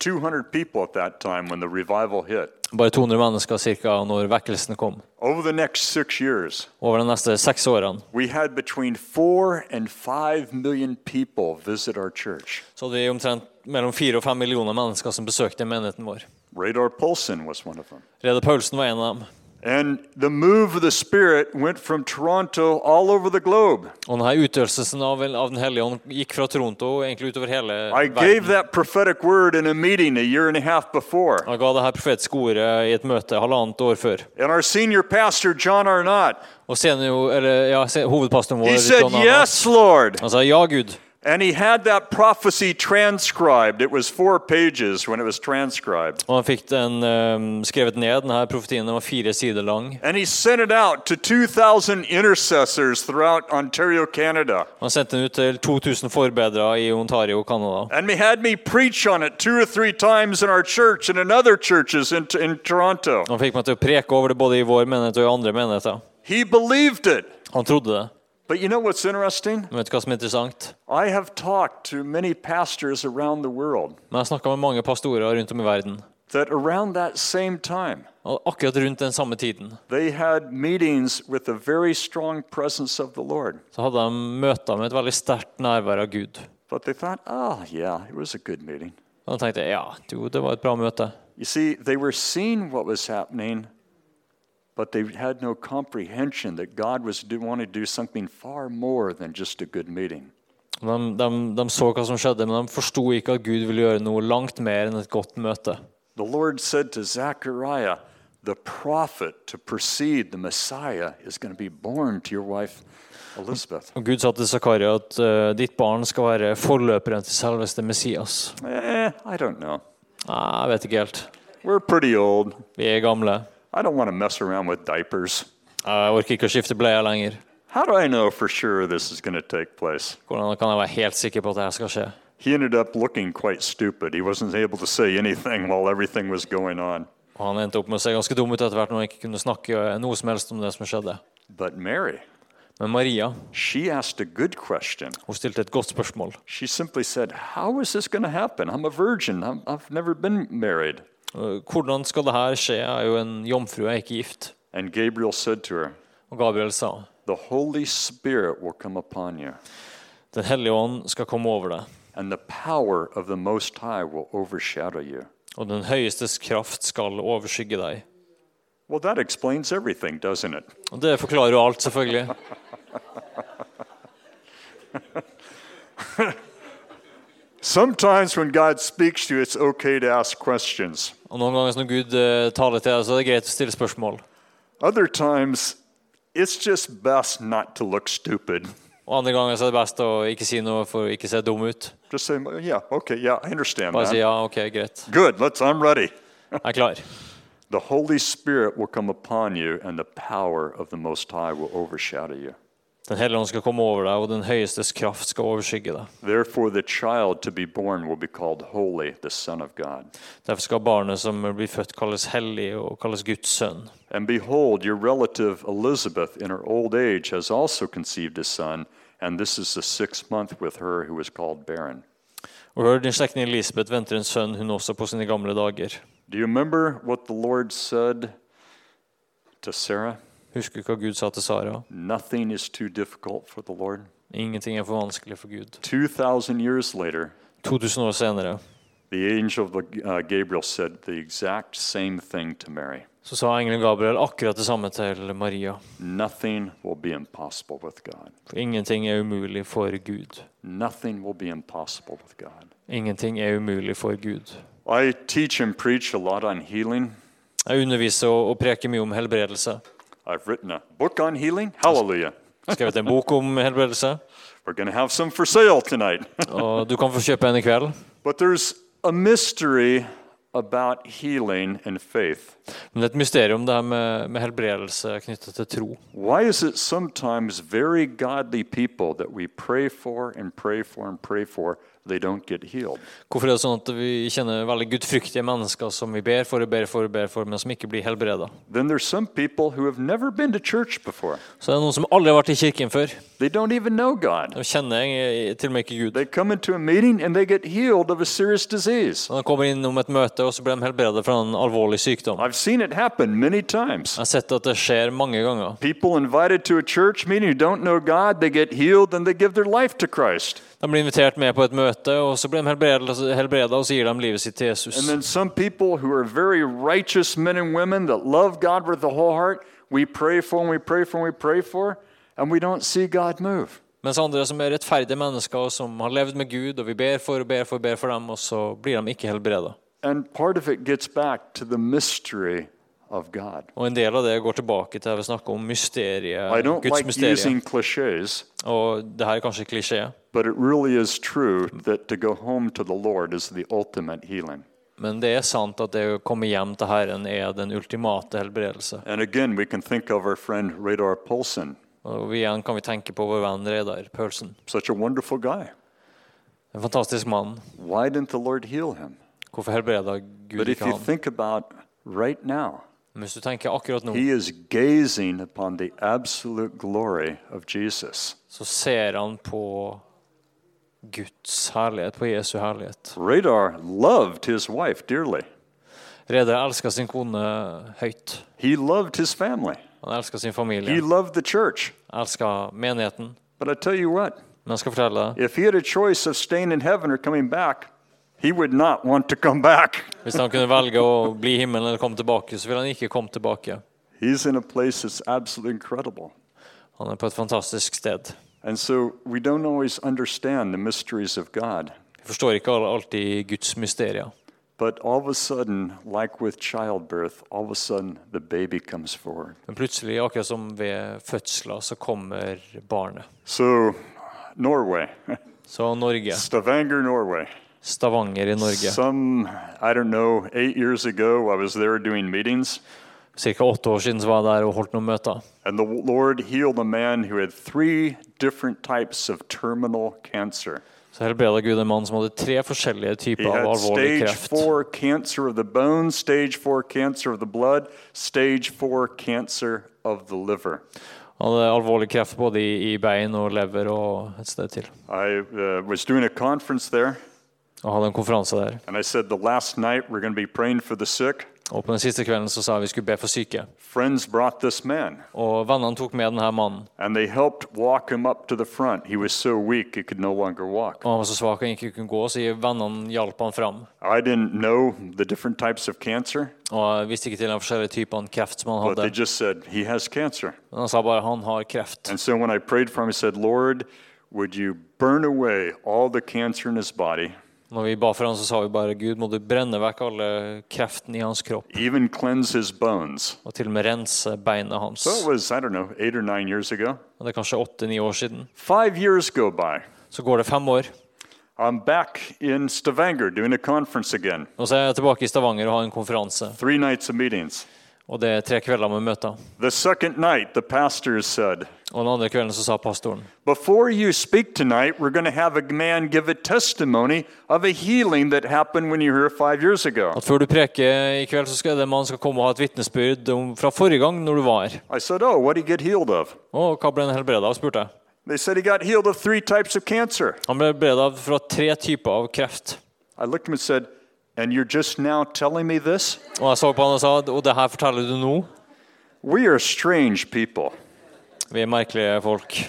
S2: 200 people at that time when the revival hit,
S3: bare 200 mennesker cirka når vekkelsen kom.
S2: over the next six years,
S3: Over de neste seks årene
S2: We had between four and five million people visit our church.
S3: så hadde vi omtrent mellom fire og fem millioner mennesker som besøkte menigheten vår.
S2: Radar Polson was one of them.
S3: Rede Paulsen var en av dem.
S2: And the move of the Spirit went from Toronto all over the globe.
S3: Og denne utøvelsen av, av Den hellige ånd gikk fra Toronto og egentlig utover hele
S2: I gave
S3: verden.
S2: that prophetic word in a meeting a year and a half before.
S3: Han ga det her profetiske ordet i et møte halvannet år før.
S2: And our senior pastor, John Arnott,
S3: Og senior, eller, ja, se- hovedpastoren vår
S2: he said,
S3: John Arnold,
S2: Yes, Lord.
S3: Han sa ja, Gud.
S2: And he had that prophecy transcribed. It was four pages when it was transcribed.
S3: Og han fikk den eh, skrevet ned, denne profetien. Den var fire sider lang.
S2: And he sent it out to 2,000 intercessors throughout Ontario, Canada.
S3: Han sendte den ut til 2000 forbedere i Ontario, Canada.
S2: And they had me preach on it two or three times in our church and in other churches in, in Toronto.
S3: Han fikk meg til å preke over det både i vår menighet og i andre menigheter.
S2: He believed it.
S3: Han trodde det.
S2: But you know what's interesting?
S3: Men vet du hva som er interessant?
S2: I have talked to many pastors around the world
S3: Men jeg snakka med mange pastorer rundt om i verden.
S2: that around that same time,
S3: Og akkurat rundt den samme tiden
S2: they had meetings with the very strong presence of the Lord.
S3: så hadde de møter med et veldig sterkt nærvær av Gud.
S2: But they thought, oh, yeah, it was a good meeting.
S3: Og de tenkte ja, jo, det var et bra møte.
S2: You see, they were seeing what was happening, but they had no comprehension that God was do, wanting to do something far more than just a good meeting.
S3: De, de, de så hva som skjedde, men de forsto ikke at Gud ville gjøre noe langt mer enn et godt møte.
S2: The Lord said to Zechariah, the prophet to precede the Messiah is going to be born to your wife Elizabeth.
S3: Og Gud sa til Zakaria at eh, ditt barn skal være forløperen til selveste Messias.
S2: eh, I don't know.
S3: Nei, jeg vet ikke helt.
S2: We're pretty old.
S3: Vi er gamle.
S2: I don't want to mess around with diapers.
S3: Jeg orker ikke å skifte bleier lenger.
S2: How do I know for sure this is going to take place?
S3: Hvordan kan jeg være helt sikker på at dette skal skje?
S2: He ended up looking quite stupid. He wasn't able to say anything while everything was going on.
S3: Og han endte opp med å se ganske dum ut etter hvert når han ikke kunne snakke eh, noe som helst om det som skjedde.
S2: But Mary,
S3: Men Maria
S2: she asked a good question.
S3: hun stilte et godt spørsmål.
S2: She simply said, How is this going to happen? I'm a virgin. I'm, I've never been married.
S3: Eh, Hvordan skal det her skje? Jeg er jo en jomfru, jeg er ikke gift.
S2: And Gabriel said to her,
S3: Og Gabriel sa,
S2: The Holy Spirit will come upon you,
S3: Den hellige ånd skal komme over deg,
S2: and the power of the Most High will overshadow you.
S3: og den høyestes kraft skal overskygge deg.
S2: Well, that explains everything, doesn't it?
S3: Og Det forklarer jo alt, selvfølgelig.
S2: Sometimes when God speaks to you, it's okay to ask questions.
S3: Og Noen ganger når Gud eh, taler til deg, så er det greit å stille spørsmål.
S2: Other times, it's just best not to look stupid.
S3: Og Andre ganger så er det best å ikke si noe for å ikke se dum ut.
S2: Just say, yeah, okay, yeah, I understand
S3: Bare si
S2: that.
S3: ja, ok, greit.
S2: Good, let's, I'm ready.
S3: Jeg er klar.
S2: The Holy Spirit will come upon you, and the power of the Most High will overshadow you.
S3: Den hellige ånd skal komme over deg, og den høyestes kraft skal overskygge deg.
S2: Therefore, the child to be born will be called Holy, the Son of God.
S3: Derfor skal barnet som blir født, kalles hellig og kalles Guds sønn.
S2: And behold, your relative Elizabeth in her old age has also conceived a son, and this is the sixth month with her who is called barren.
S3: Og hør, din slektning Elisabeth venter en sønn, hun også, på sine gamle dager.
S2: Do you remember what the Lord said to Sarah?
S3: Husker du hva Gud sa til Sara?
S2: Nothing is too difficult for the Lord.
S3: Ingenting er for vanskelig for Gud.
S2: 2,000 years later,
S3: 2000 år senere
S2: the angel of the- uh, Gabriel said the exact same thing to Mary.
S3: så sa engelen Gabriel akkurat det samme til Maria.
S2: Nothing will be impossible with God.
S3: For ingenting er umulig for Gud.
S2: Nothing will be impossible with God.
S3: Ingenting er umulig for Gud.
S2: I teach and preach a lot on healing.
S3: Jeg underviser og og preker mye om helbredelse.
S2: I've written a book on healing. Hallelujah.
S3: Skrevet en bok om helbredelse.
S2: We're going to have some for sale tonight.
S3: Og du kan få kjøpe en i kveld.
S2: but there's a mystery about healing and faith.
S3: Men det er et mysterium, det her med, med helbredelse knytta til tro.
S2: Why is it sometimes very godly people that we pray for and pray for and pray for, they don't get healed?
S3: Hvorfor er det sånn at vi kjenner veldig gudfryktige mennesker som vi ber for og ber for, og ber for, men som ikke blir helbreda?
S2: Then there's some people who have never been to church before.
S3: Så det er noen som aldri har vært i kirken før.
S2: They don't even know God.
S3: De kjenner eh, til og med ikke Gud.
S2: They come into a meeting and they get healed of a serious disease.
S3: De kommer inn om et møte, og så blir de helbreda fra en alvorlig sykdom.
S2: I've seen it happen many times.
S3: Jeg har sett at det skjer mange ganger.
S2: People invited to a church meeting who don't know God, they get healed and they give their life to Christ.
S3: De blir invitert med på et møte, og så blir de helbreda, og så gir de livet sitt til Jesus.
S2: And then some people who are very righteous men and women that love God with the whole heart, we pray for and we pray for and we pray for, and we don't see God move.
S3: Mens andre som er rettferdige mennesker, og som har levd med Gud, og vi ber for og ber for og ber for dem, og så blir de ikke helbreda.
S2: And part of it gets back to the mystery of God.
S3: Og en del av det går tilbake til det vi snakker om
S2: I
S3: mysteriet,
S2: don't
S3: Guds
S2: like
S3: mysterium.
S2: using cliches,
S3: Og det her er kanskje klisjé,
S2: but it really is true that to go home to the Lord is the ultimate healing.
S3: men det er sant at det å komme hjem til Herren er den ultimate helbredelse.
S2: And again, we can think of our friend Radar Polson,
S3: Og igjen kan vi tenke på vår venn Reidar Paulsen.
S2: such a wonderful guy.
S3: En fantastisk mann.
S2: Why didn't the Lord heal him?
S3: Hvorfor helbreda Gud
S2: But if
S3: ikke
S2: you
S3: han?
S2: think about right now,
S3: Men Hvis du tenker akkurat nå,
S2: he is gazing upon the absolute glory of Jesus.
S3: så ser han på Guds herlighet, på Jesu herlighet.
S2: Radar loved his wife dearly.
S3: Reidar elska sin kone høyt.
S2: He loved his family.
S3: Han elska sin
S2: He
S3: familie,
S2: loved the church.
S3: elska menigheten.
S2: But I tell you what,
S3: Men jeg skal fortelle deg,
S2: if he had a choice of staying in heaven or coming back, he would not want to come back.
S3: Hvis han kunne velge å bli i himmelen eller komme tilbake, så ville han ikke komme tilbake.
S2: He's in a place that's absolutely incredible.
S3: Han er på et fantastisk sted.
S2: And so we don't always understand the mysteries of God.
S3: Vi forstår ikke alle- alltid Guds mysterier.
S2: But all of a sudden, like with childbirth, all of a sudden the baby comes forward.
S3: Men plutselig, akkurat som ved fødsler, så kommer barnet.
S2: So, Norway,
S3: Så Norge.
S2: Stavanger, Norway.
S3: Stavanger i Norge.
S2: Some, I don't know, eight years ago, I was there doing meetings,
S3: Cirka åtte år siden så var jeg der og holdt noen møter.
S2: and the Lord healed a man who had three different types of terminal cancer.
S3: Så helbreda Gud en mann som hadde tre forskjellige
S2: He
S3: typer av
S2: had
S3: alvorlig
S2: stage
S3: kreft.
S2: four cancer of the bone, stage four cancer of the blood, stage four cancer of the liver.
S3: Han hadde alvorlig kreft både i, i bein og lever og et sted til.
S2: I uh, was doing a conference there,
S3: Og hadde en konferanse der.
S2: and I said the last night we're going to be praying for the sick.
S3: Og på den siste kvelden så sa jeg vi skulle be for syke.
S2: Friends brought this man,
S3: Og vennene tok med denne mannen.
S2: and they helped walk him up to the front. He was so weak he could no longer walk.
S3: Og han var så svak han ikke kunne gå, så vennene hjalp han fram.
S2: I didn't know the different types of cancer,
S3: Og jeg visste ikke til de forskjellige typene kreft som han
S2: but they
S3: hadde.
S2: just said, He has cancer.
S3: Men han sa bare han har kreft.
S2: And so when I prayed for him, I said, Lord, would you burn away all the cancer in his body,
S3: Når vi ba for han, så sa vi bare Gud, må du brenne vekk alle kreften i hans kropp.
S2: even cleanse his bones?
S3: Og til og med rense beina hans.
S2: So it was, I don't know, eight or nine years ago.
S3: Og det er kanskje åtte-ni år siden.
S2: Five years go by.
S3: Så går det fem år,
S2: I'm back in Stavanger doing a conference again.
S3: og så er jeg tilbake i Stavanger og har en konferanse.
S2: Three nights of meetings.
S3: Og det er tre kvelder med møter.
S2: The second night, the pastors said,
S3: Og den andre kvelden så sa pastoren
S2: Before you speak tonight, we're going to have a man give a testimony of a healing that happened when you were here five years ago.
S3: at før du preker i kveld, så skal det en mann skal komme og ha et vitnesbyrd om, fra forrige gang når du var her.
S2: I said, Oh, what did he get healed of?
S3: Og hva ble han helbreda av, spurte jeg.
S2: They said he got healed of three types of cancer.
S3: Han ble helbreda fra tre typer av kreft.
S2: I looked at him and said, And you're just now telling me this?
S3: Og jeg så på han og sa og det her forteller du nå?
S2: We are strange people.
S3: Vi er merkelige folk.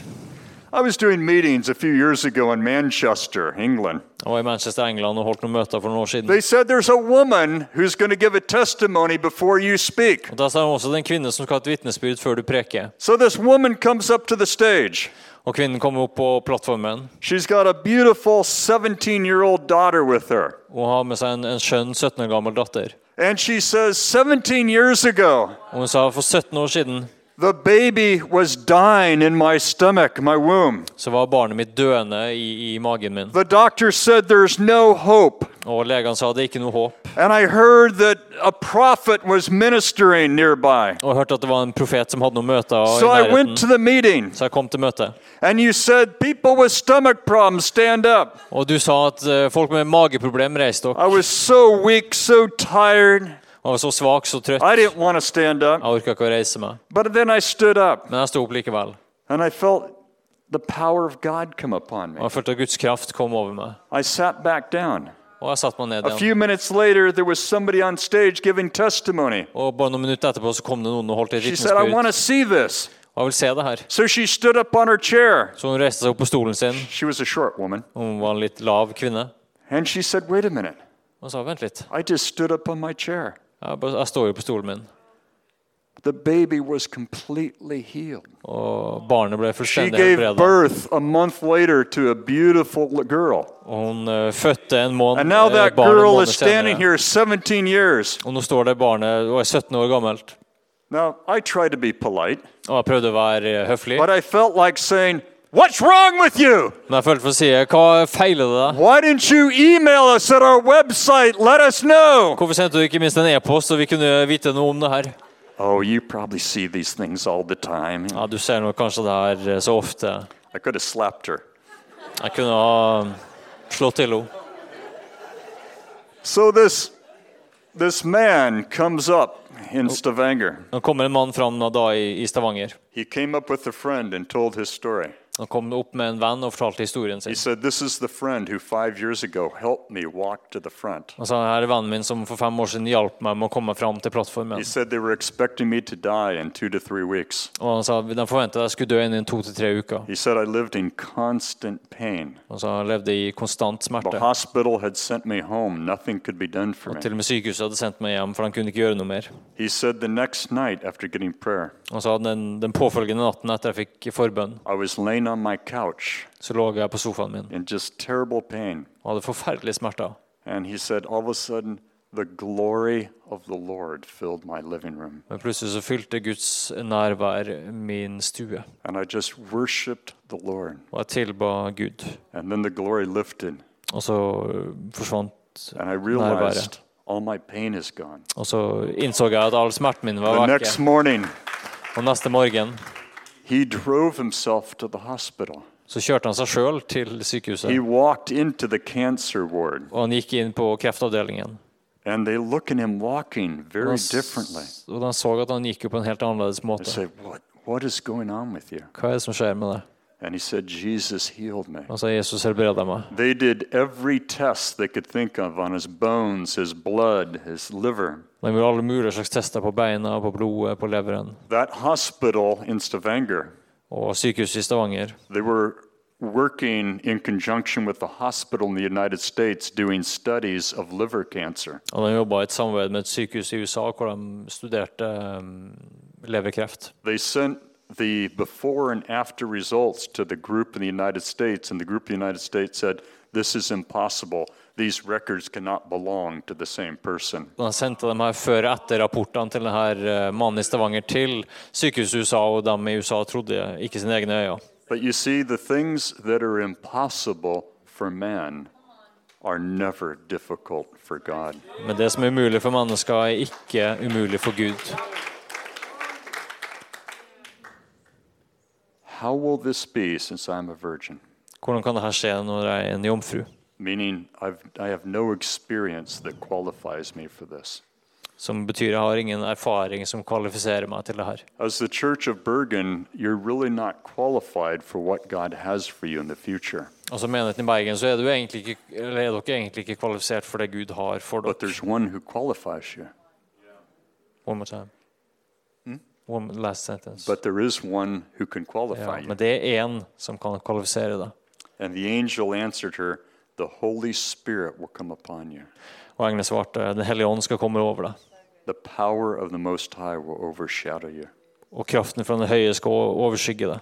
S2: I was doing meetings a few years ago in Manchester, England.
S3: Jeg var i Manchester, England og holdt noen møter for noen år siden.
S2: They said there's a woman who's going to give a testimony before you speak.
S3: Og Da sa han også det er en kvinne som skal ha et vitnesbyrd før du preker.
S2: So this woman comes up to the stage.
S3: Og kvinnen kom opp på plattformen
S2: She's got a beautiful 17 year old daughter with her.
S3: og har med seg en, en skjønn 17 år gammel datter.
S2: And she says, 17 years ago,
S3: Og hun sa for 17 år siden
S2: the baby was dying in my stomach, my womb.
S3: så var barnet mitt døende i, i magen min.
S2: The doctor said there's no hope.
S3: Og legene sa det er ikke noe håp.
S2: And I heard that a prophet was ministering nearby.
S3: Og jeg hørte at det var en profet som hadde noen møter i
S2: So I
S3: nærheten.
S2: went to the meeting,
S3: Så jeg kom til møtet.
S2: and you said, People with stomach problems, stand up.
S3: Og du sa at eh, folk med mageproblem reiste dere.
S2: I was so weak, so tired.
S3: Jeg var så svak, så trøtt.
S2: I didn't want to stand up.
S3: Jeg orka ikke å reise meg.
S2: But then I stood up,
S3: Men jeg sto opp likevel.
S2: and I felt the power of God come upon
S3: Og
S2: me.
S3: jeg følte at Guds kraft kom over meg.
S2: I sat back down.
S3: Og jeg satte meg ned
S2: A
S3: igjen.
S2: few minutes later, there was somebody on stage giving testimony.
S3: Og bare noen minutter etterpå så kom det noen og holdt et
S2: She said, I want
S3: vitnesbyrd.
S2: to see this.
S3: Og jeg vil se det her.
S2: So she stood up on her chair.
S3: Så hun reiste seg opp på stolen sin.
S2: She was a short woman.
S3: Hun var en litt lav kvinne.
S2: And she said, Wait a minute.
S3: Og sa vent litt.
S2: I just stood up on my chair.
S3: Jeg, bare, jeg står jo på stolen min.
S2: The baby was completely healed.
S3: Og barnet ble
S2: She
S3: fullstendig
S2: gave
S3: helbreda.
S2: birth a month later to a beautiful l- girl.
S3: Og hun eh, fødte en måned
S2: And now
S3: eh,
S2: that
S3: barn en
S2: girl
S3: måned
S2: is standing
S3: senere.
S2: here 17 years.
S3: Og nå står det barnet og er 17 år gammelt.
S2: Now, I tried to be polite,
S3: Og jeg prøvde å være eh, høflig,
S2: but I felt like saying, What's wrong with you?
S3: men jeg følte for å si hva feiler det deg?
S2: Why didn't you email us at our website? Let us know.
S3: Hvorfor sendte du ikke minst en e-post så vi kunne vite noe om det her?
S2: Oh, you probably see these things all the time.
S3: Ja, du ser nå kanskje det her eh, så ofte.
S2: I could have slapped her.
S3: Jeg kunne ha um, slått til henne.
S2: So this this man comes up in Stavanger.
S3: Nå kommer en mann fram nå da i, i Stavanger.
S2: He came up with a friend and told his story.
S3: Han kom opp med en venn og fortalte historien
S2: He
S3: sin.
S2: said, This is the friend who five years ago helped me walk to the front.
S3: Han sa her er vennen min som for fem år siden hjalp meg med å komme fram til plattformen.
S2: He said they were expecting me to die in two to three weeks.
S3: Og han sa de forventa jeg skulle dø innen to til tre uker.
S2: He said I lived in constant pain.
S3: Han sa han levde i konstant
S2: The
S3: smerte.
S2: hospital had sent me home. Nothing could be done for
S3: Til
S2: me.
S3: og med sykehuset hadde sendt meg hjem, for de kunne ikke gjøre noe mer.
S2: He said the next night after getting prayer,
S3: Han sa den, den påfølgende natten etter jeg fikk forbønn,
S2: I was laying on my couch
S3: så lå jeg på sofaen min
S2: in just terrible pain.
S3: og hadde forferdelige smerter.
S2: And he said, all of a sudden, the glory of the Lord filled my living room.
S3: Men plutselig så fylte Guds nærvær min stue,
S2: And I just worshiped the Lord.
S3: og jeg tilba Gud.
S2: And then the glory lifted.
S3: Og så øh, forsvant
S2: And I realized all my pain is gone.
S3: Og så innså jeg at all smerten min var
S2: The next
S3: vekke.
S2: morning,
S3: Og neste morgen
S2: he drove himself to the hospital.
S3: så kjørte han seg sjøl til
S2: He
S3: sykehuset.
S2: walked into the cancer ward,
S3: Og han gikk inn på kreftavdelingen.
S2: and they look at him walking
S3: Og
S2: very
S3: han s-
S2: differently.
S3: Og han så at han gikk jo på en helt annerledes
S2: They
S3: måte.
S2: say, what, what is going on with you?
S3: Hva er det som skjer med deg?
S2: And he said, Jesus healed me.
S3: Han sa Jesus helbreda meg.
S2: They did every test they could think of on his bones, his blood, his liver.
S3: De gjorde alle mulige slags tester på beina, på blodet, på leveren.
S2: That hospital in Stavanger,
S3: Og sykehuset i Stavanger
S2: they were working in conjunction with the hospital in the United States doing studies of liver cancer.
S3: Og de jobba i et samarbeid med et sykehus i USA hvor de studerte eh, leverkreft.
S2: They sent the before and after results to the group in the United States, and the group in the United States said, This is impossible. These records cannot belong to the same person.
S3: Og de sendte dem her før og etter rapportene til denne mannen i Stavanger til sykehuset i USA, og de i USA trodde ikke sine egne øyne.
S2: But you see, the things that are impossible for man are never difficult for God.
S3: Men det som er umulig for mennesker, er ikke umulig for Gud.
S2: How will this be since I'm a virgin?
S3: Hvordan kan dette skje når jeg er en jomfru?
S2: Meaning, I've, I have no experience that qualifies me for this.
S3: Som betyr jeg har ingen erfaring som kvalifiserer meg til det her.
S2: As the Church of Bergen, you're really not qualified for what God has for you in the future.
S3: Og som menigheten i Bergen så er, du egentlig ikke, eller er dere egentlig ikke kvalifisert for det Gud har for
S2: But
S3: dere.
S2: there's one who qualifies you.
S3: One more time. One last sentence.
S2: Hmm? But there is one who can
S3: ja,
S2: qualify you.
S3: men det er én som kan kvalifisere deg.
S2: And the angel answered her, The Holy Spirit will come upon you.
S3: Og Engelen svarte Den hellige ånd skal komme over deg.
S2: The power of the Most High will overshadow you.
S3: Og kraften fra den høye skal overskygge deg.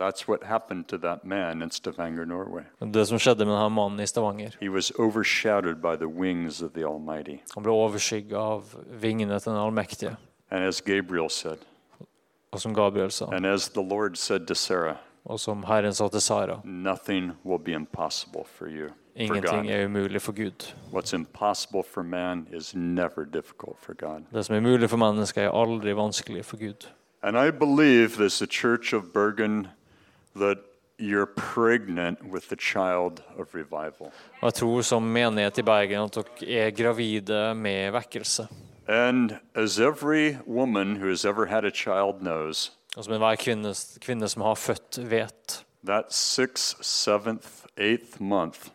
S2: That's what happened to that man in Stavanger, Norway.
S3: Men Det som skjedde med denne mannen i Stavanger
S2: He was overshadowed by the wings of the Almighty.
S3: Han ble overskygget av vingene til den allmektige.
S2: And as Gabriel said,
S3: Og som Gabriel sa,
S2: and as the Lord said to Sarah,
S3: og som Herren sa til Sara,
S2: nothing will be impossible for you. For
S3: ingenting
S2: God.
S3: er umulig for Gud.
S2: What's impossible for man is never difficult for God.
S3: Det som er mulig for mennesker, er aldri vanskelig for Gud.
S2: And I believe as the Church of Bergen that you're pregnant with the child of revival.
S3: Og jeg tror som menighet i Bergen at dere er gravide med vekkelse.
S2: And as every woman who has ever had a child knows,
S3: Og som enhver kvinne, kvinne som har født, vet.
S2: that sixth, seventh, eighth month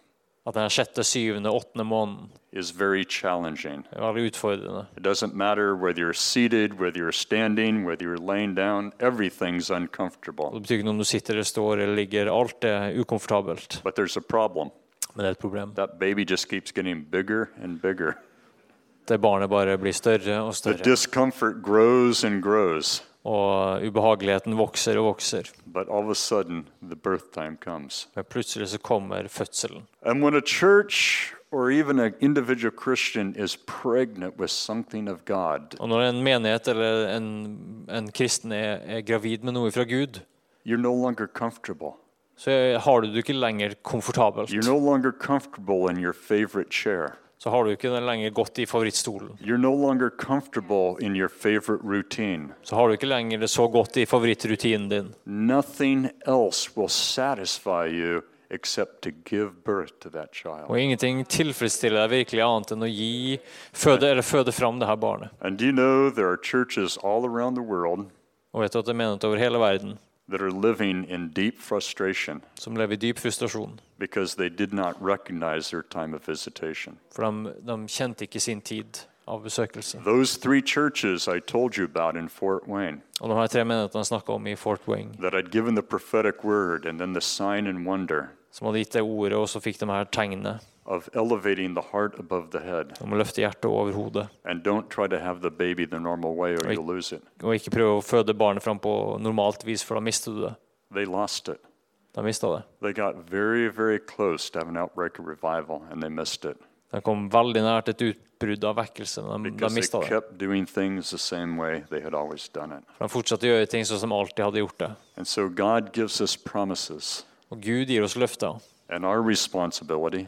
S3: At den sjette, syvende, åttende måneden
S2: is very challenging.
S3: er veldig utfordrende.
S2: It doesn't matter whether you're seated, whether you're standing, whether you're laying down, everything's
S3: Og
S2: uncomfortable.
S3: det betyr ikke noe om du sitter eller står eller ligger. Alt er ukomfortabelt.
S2: But there's a problem.
S3: Men det er et problem.
S2: That baby just keeps getting bigger and bigger.
S3: Det barnet bare blir større og
S2: The
S3: større.
S2: discomfort grows and grows,
S3: Og ubehageligheten vokser og vokser.
S2: but all of a sudden, the birth time comes.
S3: Men plutselig så kommer fødselen.
S2: And when a church or even an individual Christian is pregnant with something of God,
S3: Og når en menighet eller en, en kristen er, er gravid med noe fra Gud,
S2: you're no longer comfortable.
S3: så er- har du det ikke lenger komfortabelt.
S2: You're no longer comfortable in your favorite chair.
S3: Så har du ikke den lenger godt i favorittstolen.
S2: You're no longer comfortable in your favorite routine.
S3: Så har du ikke lenger det så godt i favorittrutinen din.
S2: Nothing else will satisfy you except to give birth to that child.
S3: Og ingenting tilfredsstiller deg virkelig annet enn å gi, føde eller føde fram det her barnet.
S2: And do you know there are churches all around the world
S3: Og vet du at det er menighet over hele verden
S2: that are living in deep frustration
S3: som lever i dyp frustrasjon.
S2: because they did not recognize their time of visitation?
S3: For de, de kjente ikke sin tid av besøkelse.
S2: Those three churches I told you about in Fort Wayne
S3: Og de her tre menighetene jeg snakka om i Fort Wing,
S2: that I'd given the prophetic word and then the sign and wonder
S3: som hadde gitt det ordet, og så fikk de her tegnet
S2: of elevating the heart above the head.
S3: om å løfte hjertet over hodet.
S2: And don't try to have the baby the normal way or
S3: Right.
S2: you'll lose it.
S3: Og ikke prøve å føde barnet fram på normalt vis, for da mister du det.
S2: They lost it.
S3: De mista det.
S2: They got very, very close to have an outbreak of revival, and they missed it
S3: De kom veldig nært et utbrudd av vekkelse, men de, de
S2: because
S3: mista
S2: they
S3: det.
S2: kept doing things the same way they had always done it.
S3: For de fortsatte å gjøre ting sånn som de alltid hadde gjort det.
S2: And so God gives us promises,
S3: Og Gud gir oss løfter.
S2: and our responsibility,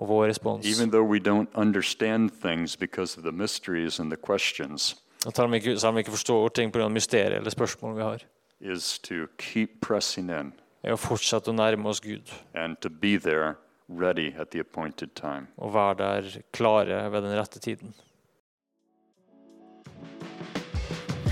S3: Og vår respons
S2: even though we don't understand things because of the mysteries and the questions,
S3: Og selv om vi ikke, selv om vi ikke forstår ting pga. mysteriet eller spørsmål vi har,
S2: is to keep pressing in
S3: er å fortsette å nærme oss Gud
S2: and to be there ready at the appointed time.
S3: og være der klare ved den rette tiden.